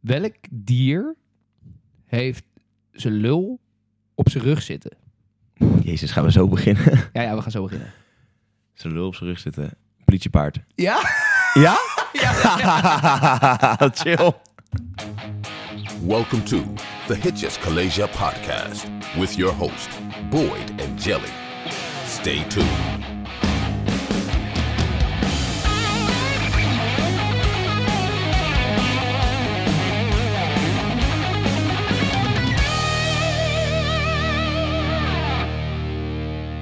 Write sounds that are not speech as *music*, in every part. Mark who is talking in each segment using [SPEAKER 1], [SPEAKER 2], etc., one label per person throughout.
[SPEAKER 1] Welk dier heeft zijn lul op zijn rug zitten?
[SPEAKER 2] Jezus, gaan we zo *laughs* beginnen?
[SPEAKER 1] Ja, ja, we gaan zo beginnen.
[SPEAKER 2] Zijn lul op zijn rug zitten. Politiepaard.
[SPEAKER 1] Ja?
[SPEAKER 2] *laughs* Ja? *laughs* Chill.
[SPEAKER 3] Welcome to the Hitches Kalasia podcast with your host, Boyd and Jelly. Stay tuned.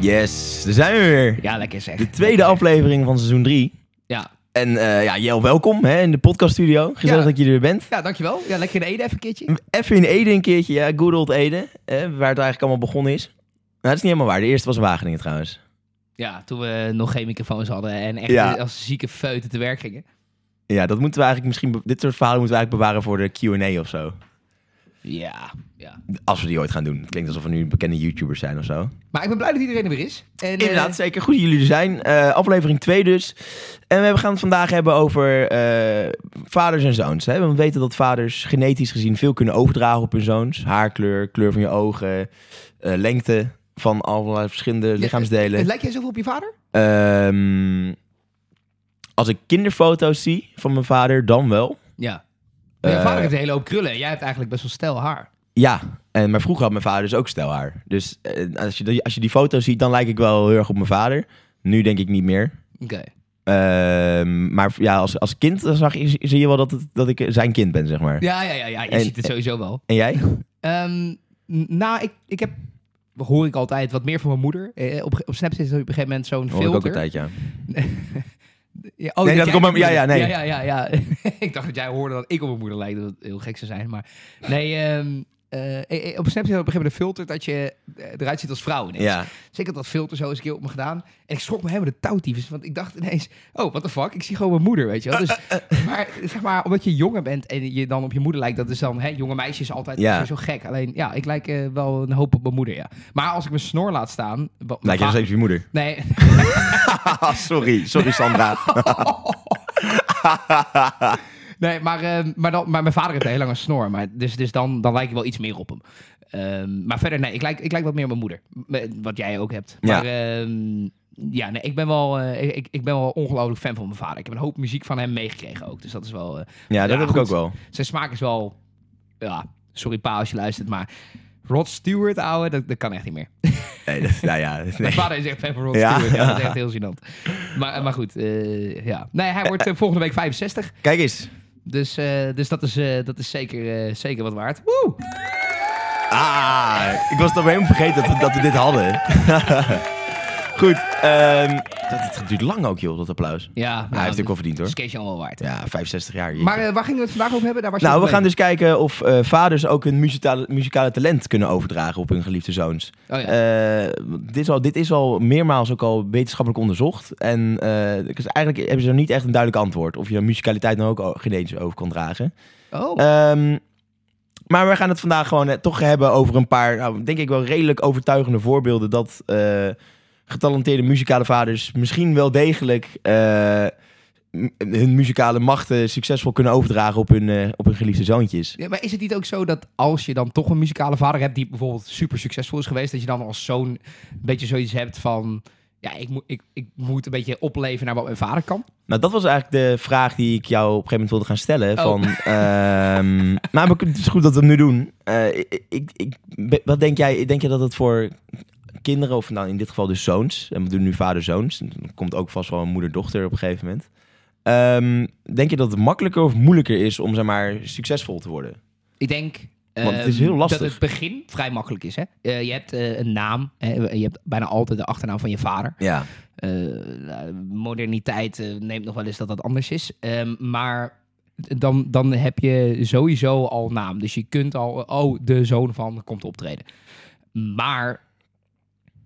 [SPEAKER 2] Yes, daar zijn we weer.
[SPEAKER 1] Ja, lekker zeg.
[SPEAKER 2] De tweede aflevering van seizoen 3.
[SPEAKER 1] Ja.
[SPEAKER 2] En eh, ja, Jel, welkom hè, in de podcaststudio. Gezellig
[SPEAKER 1] Ja.
[SPEAKER 2] dat je er weer bent.
[SPEAKER 1] ja, dankjewel. Ja, lekker in Ede even een keertje.
[SPEAKER 2] Even in Ede een keertje, ja, good old Ede. Hè, waar het eigenlijk allemaal begonnen is. Nou, dat is niet helemaal waar. De eerste was in Wageningen trouwens.
[SPEAKER 1] Ja, toen we nog geen microfoons hadden en echt
[SPEAKER 2] Ja.
[SPEAKER 1] als zieke feuten te werk gingen.
[SPEAKER 2] Ja, dat moeten we eigenlijk misschien... be- Dit soort verhalen moeten we eigenlijk bewaren voor de Q&A of zo.
[SPEAKER 1] Ja, ja.
[SPEAKER 2] Als we die ooit gaan doen. Het klinkt alsof we nu bekende YouTubers zijn of zo.
[SPEAKER 1] Maar ik ben blij dat iedereen er weer is. En, eh,
[SPEAKER 2] Inderdaad, zeker. Goed dat jullie er zijn. Eh, aflevering 2 dus. En we gaan het vandaag hebben over eh, vaders en zoons. Hè? Want we weten dat vaders genetisch gezien veel kunnen overdragen op hun zoons. Haarkleur, kleur van je ogen, eh, lengte van allerlei verschillende lichaamsdelen.
[SPEAKER 1] Lijk jij zoveel op je vader?
[SPEAKER 2] Ehm, als ik kinderfoto's zie van mijn vader, dan wel.
[SPEAKER 1] Ja. Maar je
[SPEAKER 2] Eh,
[SPEAKER 1] vader heeft een hele hoop krullen en jij hebt eigenlijk best wel stijl haar.
[SPEAKER 2] Ja, en, maar vroeger had mijn vader dus ook stelhaar. Dus eh, als, je, die- als je die foto's ziet, dan lijk ik wel heel erg op mijn vader. Nu denk ik niet meer.
[SPEAKER 1] Oké.
[SPEAKER 2] Ehm, maar v- ja, als, als kind dan zag, je- zie je wel dat, het- dat ik zijn kind ben, zeg maar.
[SPEAKER 1] Ja, ja, ja, ja. Je
[SPEAKER 2] En-
[SPEAKER 1] ziet het sowieso wel.
[SPEAKER 2] En jij?
[SPEAKER 1] Ehm, n- nou, ik, ik heb, hoor ik altijd, wat meer van mijn moeder. Eh, op, op Snapchat is er op een gegeven moment zo'n
[SPEAKER 2] Hoor ik ook
[SPEAKER 1] filter.
[SPEAKER 2] een tijdje aan.
[SPEAKER 1] Ja, oh,
[SPEAKER 2] Nee, dat
[SPEAKER 1] jij
[SPEAKER 2] komt
[SPEAKER 1] op
[SPEAKER 2] bij- ja,
[SPEAKER 1] je moeder-
[SPEAKER 2] ja, nee.
[SPEAKER 1] Ja, ja, ja, *laughs* ja. ik dacht dat jij hoorde dat ik op mijn moeder lijkt. Dat het heel gek zou zijn. Maar nee, ehm, eh, eh, op Snapchat heb je op een gegeven moment een filter dat je eh, eruit ziet als vrouw. ineens.
[SPEAKER 2] Ja.
[SPEAKER 1] Dus ik had dat filter zo eens een keer op me gedaan. En ik schrok me helemaal de touwtiefes. Want ik dacht ineens, oh, what the fuck? Ik zie gewoon mijn moeder, weet je wel. Dus,
[SPEAKER 2] Eh,
[SPEAKER 1] maar zeg maar, omdat je jonger bent en je dan op je moeder lijkt... dat is dan, hè, jonge meisjes altijd
[SPEAKER 2] Ja.
[SPEAKER 1] zo gek. Alleen, ja, ik lijk eh, wel een hoop op mijn moeder, ja. Maar als ik mijn snor laat staan... wat-
[SPEAKER 2] Lijk je nog steeds op je moeder?
[SPEAKER 1] Nee,
[SPEAKER 2] Ah, sorry. Sorry, Sandra.
[SPEAKER 1] nee maar, ehm, maar, dan, maar mijn vader heeft een heel lange snor. Maar dus dus dan, dan lijk ik wel iets meer op hem. Ehm, maar verder, nee, ik lijk, ik lijk wat meer op mijn moeder. M- Wat jij ook hebt.
[SPEAKER 2] Ja.
[SPEAKER 1] Maar ehm, ja, nee, ik ben wel, eh, ik, ik ben wel ongelooflijk fan van mijn vader. Ik heb een hoop muziek van hem meegekregen ook. Dus dat is wel... eh,
[SPEAKER 2] Ja, dat heb
[SPEAKER 1] goed.
[SPEAKER 2] ik ook wel.
[SPEAKER 1] zijn smaak is wel... Ja, sorry pa als je luistert, maar... Rod Stewart, ouwe, dat, dat kan echt niet meer.
[SPEAKER 2] *laughs*
[SPEAKER 1] *laughs*
[SPEAKER 2] Nee, dat, nou ja.
[SPEAKER 1] Mijn
[SPEAKER 2] Nee.
[SPEAKER 1] vader is echt fan van Rod
[SPEAKER 2] Ja.
[SPEAKER 1] Stewart. Ja, dat is echt
[SPEAKER 2] *laughs*
[SPEAKER 1] heel gênant. Maar, maar goed, eh, ja. Nee, hij wordt eh, volgende week 65.
[SPEAKER 2] Kijk eens.
[SPEAKER 1] Dus, eh, dus dat is, eh, dat is zeker, eh, zeker wat waard. Woe!
[SPEAKER 2] Ah, ik was het alweer helemaal vergeten dat we, dat we dit hadden. *laughs* Goed. ehm, dat, het duurt lang ook, joh, dat applaus.
[SPEAKER 1] Ja, nou,
[SPEAKER 2] hij heeft het ook wel verdiend,
[SPEAKER 1] dat
[SPEAKER 2] hoor.
[SPEAKER 1] is Keesje al wel waard.
[SPEAKER 2] Ja, 65 jaar. jeetje.
[SPEAKER 1] Maar eh, waar gingen we het vandaag over hebben? Daar was je
[SPEAKER 2] Nou, we
[SPEAKER 1] op
[SPEAKER 2] gaan
[SPEAKER 1] bezig.
[SPEAKER 2] dus kijken of eh, vaders ook hun muzikale, muzikale talent kunnen overdragen op hun geliefde zoons.
[SPEAKER 1] Oh ja.
[SPEAKER 2] Eh, dit, is al, dit is al meermaals ook al wetenschappelijk onderzocht. En eh, dus eigenlijk hebben ze nog niet echt een duidelijk antwoord of je muzikaliteit nou ook o- genetisch over kan dragen.
[SPEAKER 1] Oh,
[SPEAKER 2] Ehm, maar we gaan het vandaag gewoon eh, toch hebben over een paar, nou, denk ik wel redelijk overtuigende voorbeelden dat eh, getalenteerde muzikale vaders misschien wel degelijk eh, m- hun muzikale machten succesvol kunnen overdragen op hun, eh, op hun geliefde zoontjes.
[SPEAKER 1] ja, maar is het niet ook zo dat als je dan toch een muzikale vader hebt die bijvoorbeeld super succesvol is geweest, dat je dan als zoon een beetje zoiets hebt van, ja, ik, moet ik, ik moet een beetje opleven naar wat mijn vader kan?
[SPEAKER 2] Nou, dat was eigenlijk de vraag die ik jou op een gegeven moment wilde gaan stellen.
[SPEAKER 1] Oh.
[SPEAKER 2] Van, ehm,
[SPEAKER 1] *laughs*
[SPEAKER 2] maar we kunnen- het is goed dat we hem nu doen. Eh, ik, ik, ik- be- wat denk jij? Denk je dat het voor kinderen, of nou in dit geval dus zoons, en we doen nu vader-zoons, dan komt ook vast wel een moeder-dochter op een gegeven moment. Ehm, denk je dat het makkelijker of moeilijker is om zeg maar succesvol te worden?
[SPEAKER 1] Ik denk
[SPEAKER 2] Want het
[SPEAKER 1] ehm,
[SPEAKER 2] is heel lastig.
[SPEAKER 1] dat het begin vrij makkelijk is. Hè? Eh, je hebt eh, een naam, hè, je hebt bijna altijd de achternaam van je vader.
[SPEAKER 2] Ja.
[SPEAKER 1] Eh, nou, moderniteit eh, neemt nog wel eens dat dat anders is. Ehm, maar dan, dan heb je sowieso al naam. Dus je kunt al, oh, de zoon van komt optreden. Maar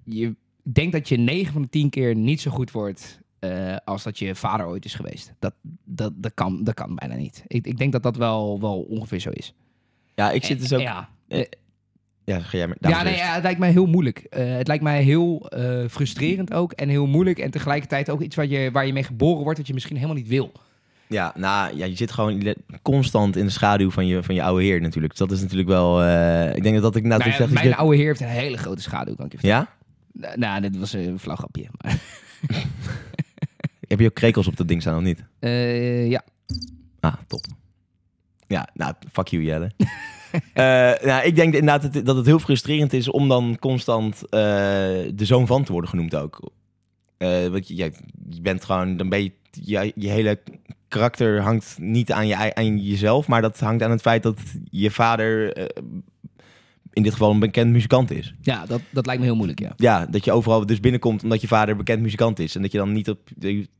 [SPEAKER 1] je ik denk dat je 9 van de 10 keer niet zo goed wordt eh, als dat je vader ooit is geweest. Dat, dat, dat, kan, dat kan bijna niet. Ik, ik denk dat dat wel, wel ongeveer zo is.
[SPEAKER 2] Ja, ik zit dus ook. Ja,
[SPEAKER 1] Ja,
[SPEAKER 2] ga jij maar.
[SPEAKER 1] ja,
[SPEAKER 2] dames
[SPEAKER 1] nee,
[SPEAKER 2] eerst.
[SPEAKER 1] ja, het lijkt mij heel moeilijk. Eh, het lijkt mij heel eh, frustrerend ook en heel moeilijk. En tegelijkertijd ook iets wat je, waar je mee geboren wordt dat je misschien helemaal niet wil.
[SPEAKER 2] Ja, nou, ja, je zit gewoon, je constant in de schaduw van je, van je oude heer natuurlijk. Dus dat is natuurlijk wel... eh, ik denk dat, dat ik nou,
[SPEAKER 1] Nou ja,
[SPEAKER 2] zeg,
[SPEAKER 1] mijn oude heer heeft een hele grote schaduw, kan ik je vertellen.
[SPEAKER 2] Ja?
[SPEAKER 1] Nou, nou, dit was een flauw grapje. Maar,
[SPEAKER 2] Heb je ook krekels op dat ding staan of niet?
[SPEAKER 1] Eh, ja.
[SPEAKER 2] Ah, top. Ja, nou, fuck you Jelle. Eh, nou, ik denk inderdaad dat het, dat het heel frustrerend is om dan constant eh, de zoon van te worden genoemd ook. Eh, want je, jij- je bent gewoon, dan ben je, je, je hele karakter hangt niet aan, je, ei- aan jezelf, maar dat hangt aan het feit dat je vader eh, in dit geval een bekend muzikant is.
[SPEAKER 1] ja, dat, dat lijkt me heel moeilijk, ja.
[SPEAKER 2] Ja, dat je overal dus binnenkomt omdat je vader bekend muzikant is. En dat je dan niet op.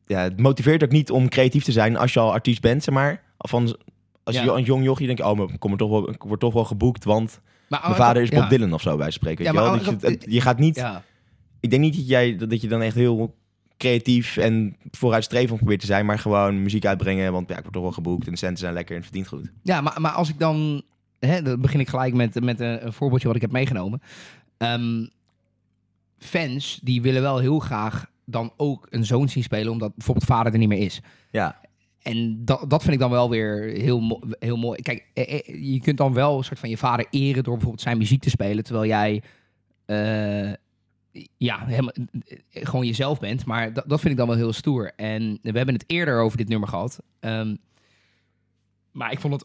[SPEAKER 2] Ja, het motiveert ook niet om creatief te zijn als je al artiest bent, zeg maar. Of van, als
[SPEAKER 1] Ja.
[SPEAKER 2] je een jong jochie denkt, oh, maar ik kom er toch wel, ik word toch wel geboekt, want
[SPEAKER 1] Maar, oh,
[SPEAKER 2] mijn vader is Bob
[SPEAKER 1] ja.
[SPEAKER 2] Dylan of zo, bij spreken.
[SPEAKER 1] Ja,
[SPEAKER 2] weet je, wel?
[SPEAKER 1] maar
[SPEAKER 2] Dus je,
[SPEAKER 1] Arab-
[SPEAKER 2] het- je gaat niet.
[SPEAKER 1] Ja.
[SPEAKER 2] Ik denk niet dat, jij, dat je dan echt heel creatief en vooruitstrevend probeert te zijn, maar gewoon muziek uitbrengen, want ja, ik word toch wel geboekt en de centen zijn lekker en het verdient goed.
[SPEAKER 1] Ja, maar, maar als ik dan... Hè, dan begin ik gelijk met, met een, een voorbeeldje wat ik heb meegenomen. Ehm, fans, die willen wel heel graag dan ook een zoon zien spelen... omdat bijvoorbeeld vader er niet meer is.
[SPEAKER 2] Ja,
[SPEAKER 1] En dat, dat vind ik dan wel weer heel, mo- heel mooi. Kijk, eh, eh, je kunt dan wel een soort van je vader eren... door bijvoorbeeld zijn muziek te spelen... terwijl jij... eh, ja, helemaal, eh, gewoon jezelf bent. Maar dat, dat vind ik dan wel heel stoer. En we hebben het eerder over dit nummer gehad. Ehm, maar ik vond het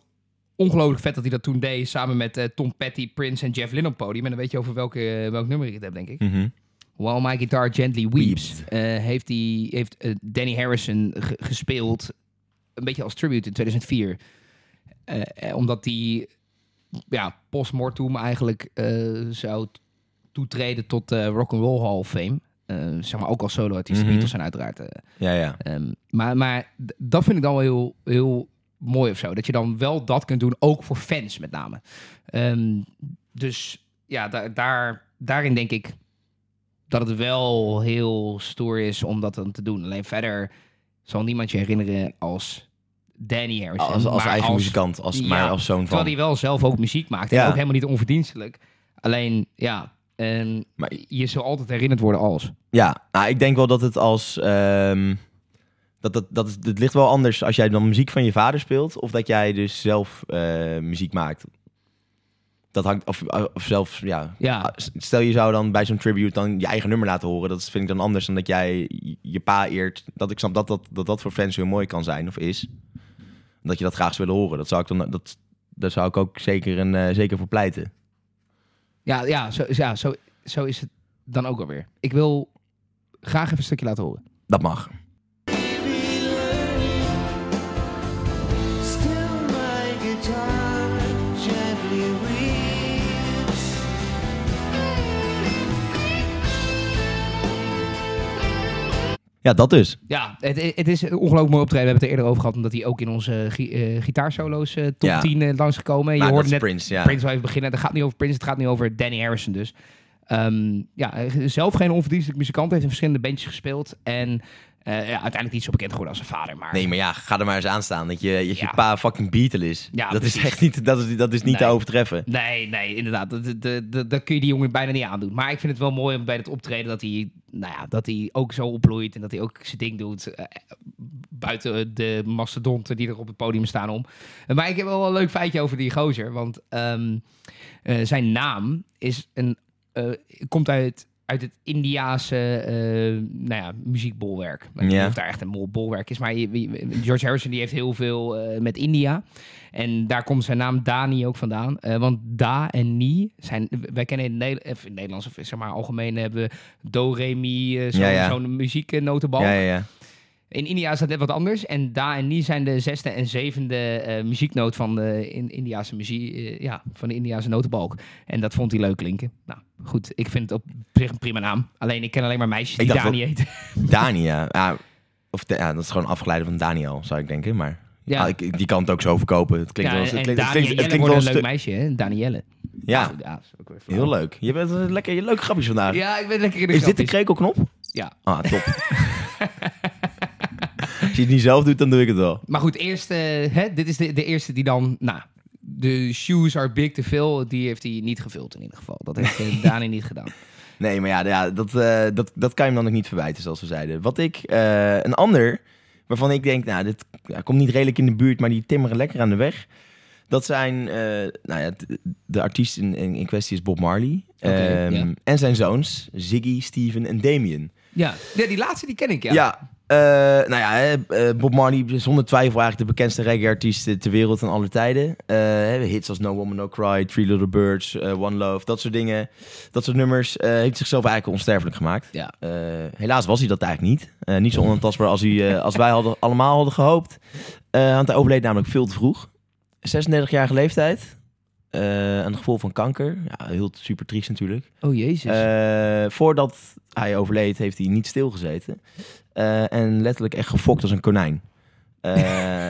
[SPEAKER 1] ongelooflijk vet dat hij dat toen deed. Samen met eh, Tom Petty, Prince en Jeff Lynne op het podium. En dan weet je over welke, eh, welk nummer ik het heb, denk ik.
[SPEAKER 2] Mhm.
[SPEAKER 1] While My Guitar Gently Weeps. eh, heeft die, heeft eh, Danny Harrison ge- gespeeld. Een beetje als tribute in 2004. Eh, eh, omdat die ja, post-mortem eigenlijk eh, zou t- toetreden tot eh, de Rock'n'Roll Hall of Fame. Eh, zeg maar ook als solo-artiest.
[SPEAKER 2] Mhm.
[SPEAKER 1] De Beatles zijn uiteraard eh,
[SPEAKER 2] ja, ja.
[SPEAKER 1] Ehm, maar maar d- dat vind ik dan wel heel, heel mooi of zo. Dat je dan wel dat kunt doen, ook voor fans met name. Ehm, dus ja, da- daar, daarin denk ik dat het wel heel stoer is om dat dan te doen. Alleen verder zal niemand je herinneren als Danny Harrison.
[SPEAKER 2] Als, als
[SPEAKER 1] maar
[SPEAKER 2] eigen muzikant, als,
[SPEAKER 1] Ja,
[SPEAKER 2] maar als zoon
[SPEAKER 1] Terwijl
[SPEAKER 2] van.
[SPEAKER 1] hij wel zelf ook muziek maakt. En
[SPEAKER 2] Ja.
[SPEAKER 1] ook helemaal niet onverdienstelijk. Alleen, ja... ehm,
[SPEAKER 2] Maar-
[SPEAKER 1] je zal altijd herinnerd worden als.
[SPEAKER 2] Ja, nou, ik denk wel dat het als. ehm, dat, dat, dat, is, dat ligt wel anders als jij dan muziek van je vader speelt. Of dat jij dus zelf eh, muziek maakt. Dat hangt. Of, eh, of zelf, ja. Ah,
[SPEAKER 1] Ja,
[SPEAKER 2] Stel je zou dan bij zo'n tribute dan je eigen nummer laten horen. Dat vind ik dan anders dan dat jij je pa eert. Dat ik snap dat dat, dat, dat voor fans heel mooi kan zijn of is. Dat je dat graag zou willen horen. Dat zou ik dan. Dat, daar zou ik ook zeker, een, eh, zeker voor pleiten.
[SPEAKER 1] Ja, ja, zo, ja zo, zo is het dan ook alweer. Ik wil graag even een stukje laten horen.
[SPEAKER 2] Dat mag.
[SPEAKER 4] Still my guitar gently weeps.
[SPEAKER 2] Ja, dat dus.
[SPEAKER 1] Ja, het, het is een ongelooflijk mooi optreden. We hebben het er eerder over gehad, omdat hij ook in onze gi- eh, gitaarsolo's eh, top
[SPEAKER 2] Ja.
[SPEAKER 1] 10 eh, langsgekomen. Je
[SPEAKER 2] Maar dat
[SPEAKER 1] hoorde net
[SPEAKER 2] is Prince, ja.
[SPEAKER 1] Prince wel even beginnen. Het gaat niet over Prince, het gaat niet over Danny Harrison dus. Ehm, ja, eh, zelf geen onverdienstelijk muzikant. Heeft in verschillende bandjes gespeeld. En eh, ja, uiteindelijk niet zo bekend geworden als zijn vader. Maar
[SPEAKER 2] Nee, maar ja, ga er maar eens aan staan. Dat je, dat je
[SPEAKER 1] Ja.
[SPEAKER 2] pa fucking Beatle is.
[SPEAKER 1] Ja,
[SPEAKER 2] dat is
[SPEAKER 1] precies.
[SPEAKER 2] echt niet, dat is, dat is niet
[SPEAKER 1] Nee.
[SPEAKER 2] te overtreffen.
[SPEAKER 1] *laughs* Nee, nee, inderdaad. Dat, dat, dat- dat- dat kun je die jongen bijna niet aandoen. Maar ik vind het wel mooi om bij het optreden dat hij, nou ja, dat hij ook zo opbloeit en dat hij ook zijn ding doet. eh, buiten de mastodonten die er op het podium staan om. Maar ik heb wel een leuk feitje over die gozer. Want ehm, eh, zijn naam is een, eh, komt uit, uit het Indiaanse eh nou ja, muziekbolwerk. Ik weet niet
[SPEAKER 2] Ja.
[SPEAKER 1] of daar echt een mol- bolwerk is. Maar je- je- George Harrison die heeft heel veel eh, met India. En daar komt zijn naam Dani ook vandaan. Eh, want Da en Ni zijn... Wij kennen in, het Neder- of in het Nederlands, of zeg maar algemeen, hebben we Do, Re, Mi, eh, zo'n
[SPEAKER 2] Ja, ja.
[SPEAKER 1] zo'n muzieknotenbal.
[SPEAKER 2] Ja, ja, ja.
[SPEAKER 1] In India is dat net wat anders. En da en ni zijn de zesde en zevende eh, muzieknoot van de in, Indiaanse muziek, eh, ja, van de Indiaanse notenbalk. En dat vond hij leuk klinken. Nou, goed, ik vind het op zich een prima naam. Alleen ik ken alleen maar meisjes die
[SPEAKER 2] Ik dacht
[SPEAKER 1] Dani heten.
[SPEAKER 2] Dania. Ja, of de- ja, dat is gewoon afgeleid van Daniel, zou ik denken. Maar
[SPEAKER 1] Ja.
[SPEAKER 2] Ah, ik, die kan het ook zo verkopen. Het klinkt
[SPEAKER 1] Ja,
[SPEAKER 2] wel
[SPEAKER 1] en
[SPEAKER 2] eens- het
[SPEAKER 1] en
[SPEAKER 2] klinkt- het
[SPEAKER 1] Dani
[SPEAKER 2] klinkt-
[SPEAKER 1] en
[SPEAKER 2] het
[SPEAKER 1] Jelle
[SPEAKER 2] klinkt
[SPEAKER 1] worden
[SPEAKER 2] wel
[SPEAKER 1] een leuk
[SPEAKER 2] een
[SPEAKER 1] meisje, hè? Danielle.
[SPEAKER 2] stuk- Ja,
[SPEAKER 1] Goed, dat is ook weer flauw.
[SPEAKER 2] heel leuk. Je bent een lekker, je leuk grapjes vandaag.
[SPEAKER 1] Ja, ik ben lekker in de
[SPEAKER 2] is dit de
[SPEAKER 1] grapjes.
[SPEAKER 2] krekelknop?
[SPEAKER 1] Ja.
[SPEAKER 2] Ah,
[SPEAKER 1] *laughs*
[SPEAKER 2] top. Als je het niet zelf doet, dan doe ik het wel.
[SPEAKER 1] Maar goed, eerst, eh, hè, dit is de, de eerste die dan... Nou, de shoes are big te veel. Die heeft hij niet gevuld in ieder geval. Dat heeft eh,
[SPEAKER 2] *laughs*
[SPEAKER 1] Dani niet gedaan.
[SPEAKER 2] Nee, maar ja, ja dat, eh, dat, dat kan je hem dan ook niet verwijten, zoals we zeiden. Wat ik, eh, een ander Waarvan ik denk, nou, dit ja, komt niet redelijk in de buurt, maar die timmeren lekker aan de weg. Dat zijn, eh, nou ja, t- de artiest in, in, in kwestie is Bob Marley.
[SPEAKER 1] Oké,
[SPEAKER 2] Ehm,
[SPEAKER 1] ja.
[SPEAKER 2] En zijn zoons, Ziggy, Steven en Damien.
[SPEAKER 1] Ja. ja, die laatste die ken ik, ja.
[SPEAKER 2] Ja. eh, nou ja, hè, eh, Bob Marley is zonder twijfel eigenlijk de bekendste reggae-artiest eh, ter wereld van alle tijden. Eh, hè, hits als No Woman No Cry, Three Little Birds, eh, One Love, dat soort dingen. Dat soort nummers. eh, heeft zichzelf eigenlijk onsterfelijk gemaakt.
[SPEAKER 1] Ja.
[SPEAKER 2] Eh, helaas was hij dat eigenlijk niet. Eh, niet zo onantastbaar als, hij, eh, als wij hadden, allemaal hadden gehoopt. Eh, want hij overleed namelijk veel te vroeg. 36-jarige leeftijd. Eh aan het gevolg van kanker. Ja, heel super triest natuurlijk.
[SPEAKER 1] Oh, jezus.
[SPEAKER 2] Eh, voordat hij overleed, heeft hij niet stilgezeten. Eh, en letterlijk echt gefokt als een konijn. Eh,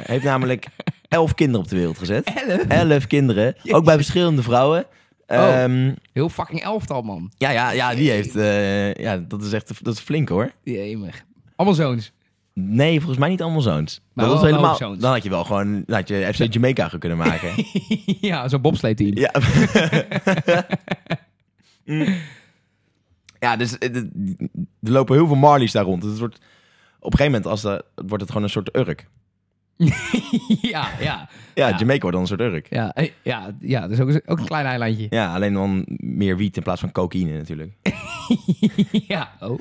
[SPEAKER 2] heeft namelijk elf kinderen op de wereld gezet.
[SPEAKER 1] Elf?
[SPEAKER 2] Elf kinderen. Ook bij verschillende vrouwen.
[SPEAKER 1] Oh.
[SPEAKER 2] Ehm,
[SPEAKER 1] Heel fucking elftal, man.
[SPEAKER 2] ja, ja, ja, die heeft... eh, ja, dat is echt dat is flink hoor.
[SPEAKER 1] Jemig. Allemaal zoons. *laughs*
[SPEAKER 2] Nee, volgens mij niet allemaal zoons.
[SPEAKER 1] Maar
[SPEAKER 2] dat
[SPEAKER 1] wel
[SPEAKER 2] was helemaal,
[SPEAKER 1] hoofdzoons.
[SPEAKER 2] dan had je wel gewoon dan had je FC Jamaica ge- *laughs* kunnen maken.
[SPEAKER 1] ja, zo'n bobsleeteam.
[SPEAKER 2] ja. *laughs* Mm. ja, dus eh, d- er lopen heel veel Marlies daar rond. Dus het wordt, op een gegeven moment als dat, wordt het gewoon een soort Urk.
[SPEAKER 1] *laughs* ja, ja.
[SPEAKER 2] Ja,
[SPEAKER 1] Ja.
[SPEAKER 2] Jamaica wordt dan een soort Urk.
[SPEAKER 1] Ja, eh, ja, ja, dat is ook, ook een klein eilandje.
[SPEAKER 2] Ja, alleen dan meer wiet in plaats van cocaïne natuurlijk.
[SPEAKER 1] *laughs* ja. Oh.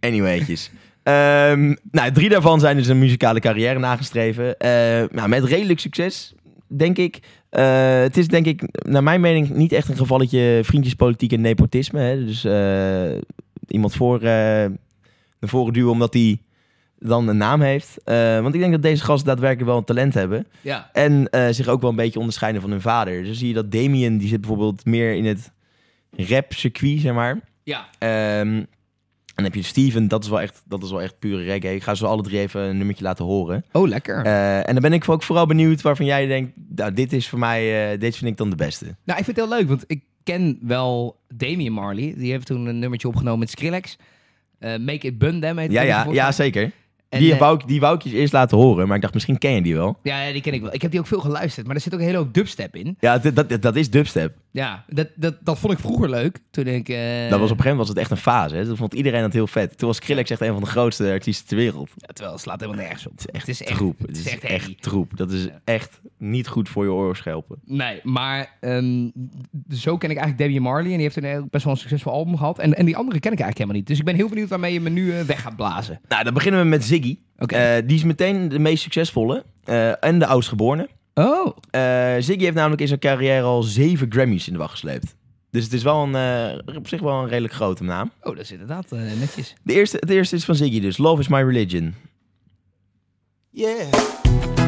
[SPEAKER 2] Anyway'tjes. *laughs* Ehm, nou, drie daarvan zijn dus een muzikale carrière nagestreven. Eh, nou, met redelijk succes, denk ik. Eh, het is denk ik, naar mijn mening, niet echt een gevalletje vriendjespolitiek en nepotisme. Hè? Dus eh, iemand voor, eh naar voren duwen omdat hij dan een naam heeft. Eh, want ik denk dat deze gasten daadwerkelijk wel een talent hebben.
[SPEAKER 1] Ja.
[SPEAKER 2] En eh, zich ook wel een beetje onderscheiden van hun vader. Dus zie je dat Damien, die zit bijvoorbeeld meer in het rap-circuit, zeg maar.
[SPEAKER 1] Ja.
[SPEAKER 2] Ehm, en dan heb je Steven, dat is wel echt, dat is wel echt pure reggae. Ik ga ze alle drie even een nummertje laten horen.
[SPEAKER 1] Oh, lekker.
[SPEAKER 2] Eh, en dan ben ik ook vooral benieuwd waarvan jij denkt, nou, dit is voor mij, eh, dit vind ik dan de beste.
[SPEAKER 1] Nou, ik vind het heel leuk, want ik ken wel Damien Marley. Die heeft toen een nummertje opgenomen met Skrillex. Eh, Make It Bun Them heet
[SPEAKER 2] Ja,
[SPEAKER 1] het nummer
[SPEAKER 2] ja, ja,
[SPEAKER 1] volgens mij.
[SPEAKER 2] zeker.
[SPEAKER 1] En,
[SPEAKER 2] die,
[SPEAKER 1] eh,
[SPEAKER 2] wou ik, die wou ik je eerst laten horen, maar ik dacht, misschien ken je die wel.
[SPEAKER 1] ja, ja, die ken ik wel. Ik heb die ook veel geluisterd, maar er zit ook een hele hoop dubstep in.
[SPEAKER 2] Ja, dit- dat, dat, dat is dubstep.
[SPEAKER 1] Ja, dat, dat, dat vond ik vroeger leuk. Toen ik... eh,
[SPEAKER 2] dat was op een gegeven moment was het echt een fase. Hè. Toen vond iedereen dat heel vet. Toen was Skrillex echt een van de grootste artiesten ter wereld.
[SPEAKER 1] ja, terwijl het slaat helemaal nergens op. Het is echt, het is echt
[SPEAKER 2] Troep. Het is echt,
[SPEAKER 1] heavy.
[SPEAKER 2] troep. Dat is echt niet goed voor je oorschelpen.
[SPEAKER 1] Nee, maar ehm, zo ken ik eigenlijk Debbie Marley. En die heeft een heel- best wel een succesvol album gehad. En, en die andere ken ik eigenlijk helemaal niet. Dus ik ben heel benieuwd waarmee je me nu eh, weg gaat blazen.
[SPEAKER 2] Nou, dan beginnen we met Ziggy.
[SPEAKER 1] Oké.
[SPEAKER 2] Eh, die is meteen de meest succesvolle eh, en de oudstgeborene.
[SPEAKER 1] Oh,
[SPEAKER 2] Eh, Ziggy heeft namelijk in zijn carrière al zeven Grammys in de wacht gesleept. Dus het is wel een, eh, op zich wel een redelijk grote naam.
[SPEAKER 1] oh dat is inderdaad eh, netjes.
[SPEAKER 2] De eerste, het eerste is van Ziggy dus. Love is my religion.
[SPEAKER 4] Yeah.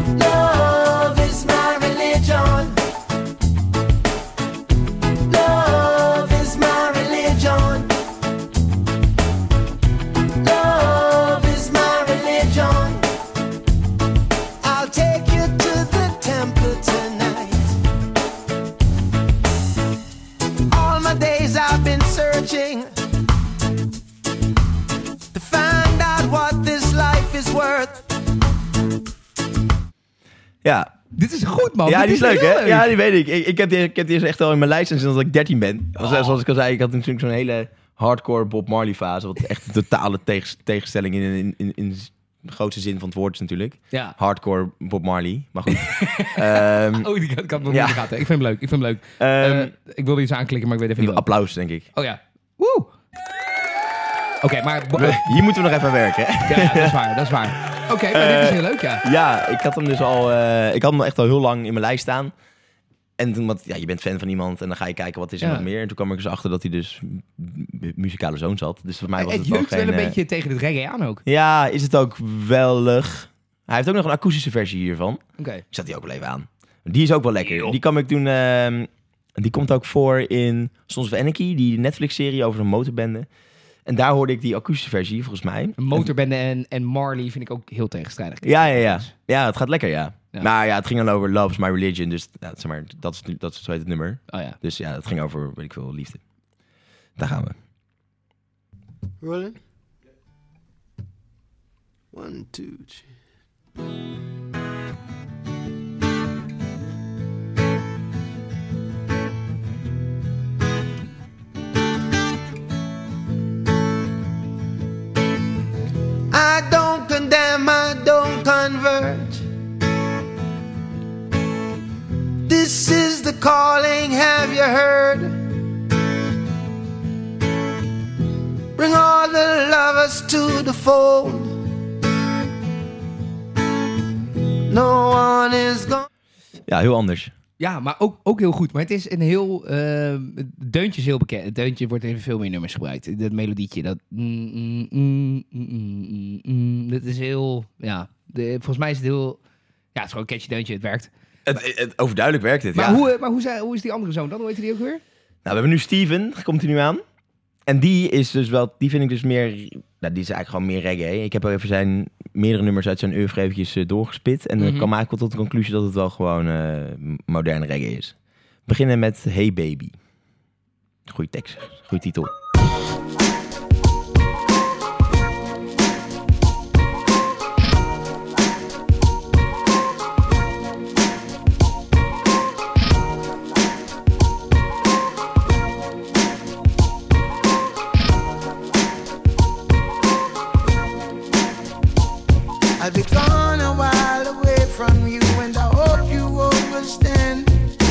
[SPEAKER 4] Love is my religion. Love is my religion. Love is my religion. I'll take you to the temple tonight. All my days I've been searching to find out what this life is worth.
[SPEAKER 2] Ja,
[SPEAKER 1] Dit is goed, man.
[SPEAKER 2] ja
[SPEAKER 1] Dit
[SPEAKER 2] die is leuk hè?
[SPEAKER 1] heel
[SPEAKER 2] Ja, die weet ik. Ik, ik, heb die, ik heb die echt al in mijn lijst sinds dat ik 13 ben. Want
[SPEAKER 1] Oh.
[SPEAKER 2] Zoals ik al zei, ik had natuurlijk zo'n hele hardcore Bob Marley fase. Wat echt een totale tegens- tegenstelling in, in, in, in de grootste zin van het woord is natuurlijk.
[SPEAKER 1] Ja.
[SPEAKER 2] Hardcore Bob Marley. Maar goed.
[SPEAKER 1] *laughs*
[SPEAKER 2] Ehm,
[SPEAKER 1] Oh, die kan, kan nog
[SPEAKER 2] Ja.
[SPEAKER 1] niet in de gaten. Ik vind hem leuk. Ik vind hem leuk.
[SPEAKER 2] Ehm,
[SPEAKER 1] Ehm, ik wilde iets aanklikken, maar ik weet even niet. wat.
[SPEAKER 2] applaus denk ik.
[SPEAKER 1] Oh ja. Woe. Oké, maar. bo-
[SPEAKER 2] *laughs* Hier moeten we nog even aan werken. hè?
[SPEAKER 1] *laughs* Ja, dat is waar. Dat is waar. Oké, maar dit is heel leuk, ja.
[SPEAKER 2] Ja, ik had hem dus al. eh, ik had hem echt al heel lang in mijn lijst staan. En toen, want ja, je bent fan van iemand en dan ga je kijken wat is er
[SPEAKER 1] Ja.
[SPEAKER 2] nog meer. En toen kwam ik dus achter dat hij dus m- m- muzikale zoons had. Dus voor mij was
[SPEAKER 1] Het
[SPEAKER 2] het wel
[SPEAKER 1] jeukt wel
[SPEAKER 2] geen...
[SPEAKER 1] een
[SPEAKER 2] eh,
[SPEAKER 1] beetje tegen het reggae aan ook.
[SPEAKER 2] Ja, is het ook welig. Hij heeft ook nog een akoestische versie hiervan.
[SPEAKER 1] Oké.
[SPEAKER 2] Ik zat die ook wel even aan. Die is ook wel lekker. Die kan ik toen... ehm, die komt ook voor in Sons of Anarchy, die Netflix-serie over een motorbende. En daar hoorde ik die akoestische versie, volgens mij.
[SPEAKER 1] Een Motorbende en, en Marley vind ik ook heel tegenstrijdig.
[SPEAKER 2] Ja, ja, ja. Ja, het gaat lekker, ja.
[SPEAKER 1] Ja.
[SPEAKER 2] Maar ja, het ging dan over Love is My Religion. Dus ja, zeg maar, dat is, dat is zo heet het nummer.
[SPEAKER 1] Oh ja.
[SPEAKER 2] Dus ja, het ging over, weet ik veel, liefde. Daar gaan we.
[SPEAKER 4] Rolling. One, two, three. I don't condemn, I don't This is the calling, have you heard? Bring all the lovers to the fold. No one is gone.
[SPEAKER 2] Ja, heel anders.
[SPEAKER 1] Ja, maar ook, ook heel goed. Maar het is een heel... ehm, het deuntje is heel bekend. Het deuntje wordt in veel meer nummers gebruikt. Dat melodietje, dat... mm, mm, mm, mm, mm, mm, mm. Dat is heel... Ja, de- volgens mij is het heel... Ja, het is gewoon een catchy deuntje. Het werkt.
[SPEAKER 2] Het, het- overduidelijk werkt het,
[SPEAKER 1] Maar,
[SPEAKER 2] ja.
[SPEAKER 1] hoe, eh, maar hoe, zei- hoe is die andere zoon dan? Hoe heet die ook weer?
[SPEAKER 2] Nou, we hebben nu Steven, komt hij nu aan. En die is dus wel, die vind ik dus meer, nou, die is eigenlijk gewoon meer reggae. Ik heb wel even zijn meerdere nummers uit zijn oeuvre eventjes eh, doorgespit. En dan
[SPEAKER 1] Mhm.
[SPEAKER 2] kwam eigenlijk wel tot de conclusie dat het wel gewoon eh, m- moderne reggae is. We beginnen met Hey Baby. Goeie tekst, goede titel.
[SPEAKER 4] I'll be gone a while away from you, and I hope you understand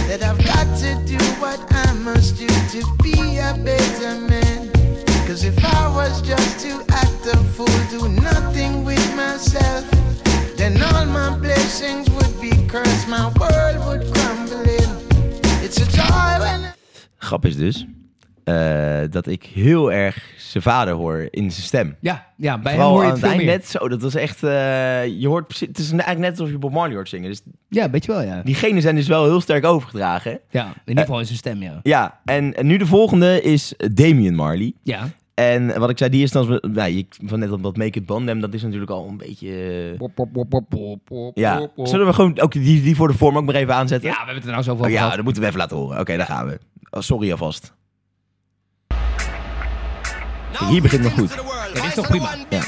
[SPEAKER 4] that I've got to do what I must do to be a better man. Cause if I was just to act a fool, do nothing with myself, then all my blessings would be cursed, my world would crumble in. It's a joy when I
[SPEAKER 2] Grap is dus eh, dat ik heel erg zijn vader hoor in zijn stem.
[SPEAKER 1] Ja, ja bij hem
[SPEAKER 2] Vooral
[SPEAKER 1] hoor je het
[SPEAKER 2] aan het
[SPEAKER 1] veel
[SPEAKER 2] eind
[SPEAKER 1] meer.
[SPEAKER 2] net zo, dat was echt, eh, je hoort, precies- het is eigenlijk net alsof je Bob Marley hoort zingen. Dus
[SPEAKER 1] Ja, weet je wel, ja.
[SPEAKER 2] diegenen zijn dus wel heel sterk overgedragen.
[SPEAKER 1] Ja, in ieder geval in zijn stem, ja.
[SPEAKER 2] Ja, en, en nu de volgende is Damien Marley.
[SPEAKER 1] Ja.
[SPEAKER 2] En wat ik zei, die is dan... Nou, ik van net op dat Make It Bandem, dat is natuurlijk al een beetje... eh,
[SPEAKER 1] Pop, pop, pop, pop, pop, pop,
[SPEAKER 2] ja,
[SPEAKER 1] pop.
[SPEAKER 2] zullen we gewoon ook die, die voor de vorm ook maar even
[SPEAKER 1] Ja, we
[SPEAKER 2] aanzetten?
[SPEAKER 1] hebben het er nou zoveel
[SPEAKER 2] Oh
[SPEAKER 1] over
[SPEAKER 2] ja
[SPEAKER 1] gehad.
[SPEAKER 2] dat moeten we even laten horen. Oké, daar gaan we. Oh, sorry alvast. Hier begint nog goed.
[SPEAKER 1] dit is toch prima?
[SPEAKER 2] Ja.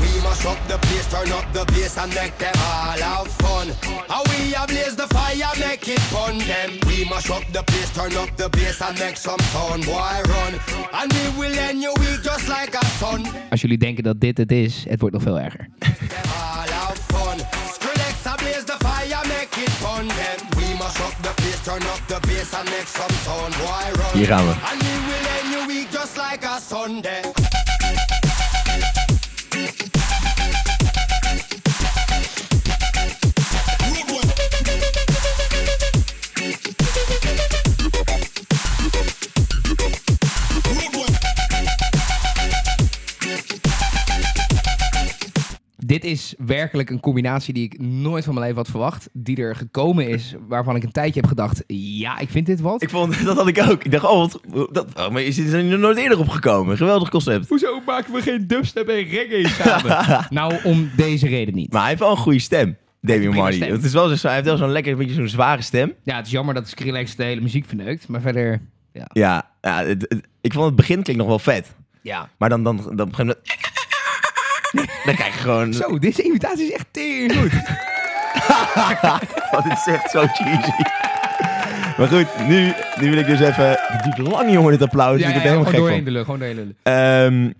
[SPEAKER 5] We must up the place, turn up the bass and make them all have fun. How we a blaze the fire, make it fun them. We must up the place, turn up the bass and make some sound, boy run. And we will end your week just like a sun.
[SPEAKER 1] Als jullie denken dat dit het is, het wordt nog veel erger.
[SPEAKER 5] Them all have fun. Skrillex a blaze the fire, make it fun them. We must up the place, turn up the bass and make some sound, boy run.
[SPEAKER 2] Hier gaan we.
[SPEAKER 5] And we will end your week just like a Sunday.
[SPEAKER 1] Dit is werkelijk een combinatie die ik nooit van mijn leven had verwacht. Die er gekomen is, waarvan ik een tijdje heb gedacht... Ja, ik vind dit wat.
[SPEAKER 2] Ik vond, dat had ik ook. Ik dacht, oh, wat, dat, oh, maar is dit er nooit eerder op gekomen? Geweldig concept.
[SPEAKER 1] Hoezo maken we geen dubstep en reggae samen? *laughs* nou, om deze reden niet.
[SPEAKER 2] Maar hij heeft wel een goede stem, Damien
[SPEAKER 1] prima
[SPEAKER 2] Marley.
[SPEAKER 1] stem.
[SPEAKER 2] Het is wel zo, hij heeft wel zo'n lekker, beetje zo'n zware stem.
[SPEAKER 1] Ja, het is jammer dat Skrillex de hele muziek verneukt. Maar verder, ja.
[SPEAKER 2] Ja, ja het- het- ik vond het begin klinkt nog wel vet.
[SPEAKER 1] ja.
[SPEAKER 2] Maar dan, dan, dan, op een gegeven moment... *laughs* Dan krijg je gewoon... *laughs*
[SPEAKER 1] Zo, deze imitatie is echt tering goed.
[SPEAKER 2] Oh, dit is echt zo cheesy. Maar goed, nu, nu wil ik dus even... Het duurt lang, jongen, dit applaus.
[SPEAKER 1] ja,
[SPEAKER 2] ik
[SPEAKER 1] ja,
[SPEAKER 2] heb er
[SPEAKER 1] gewoon
[SPEAKER 2] helemaal gek
[SPEAKER 1] doorheen
[SPEAKER 2] van.
[SPEAKER 1] lullen, gewoon doorheen lullen.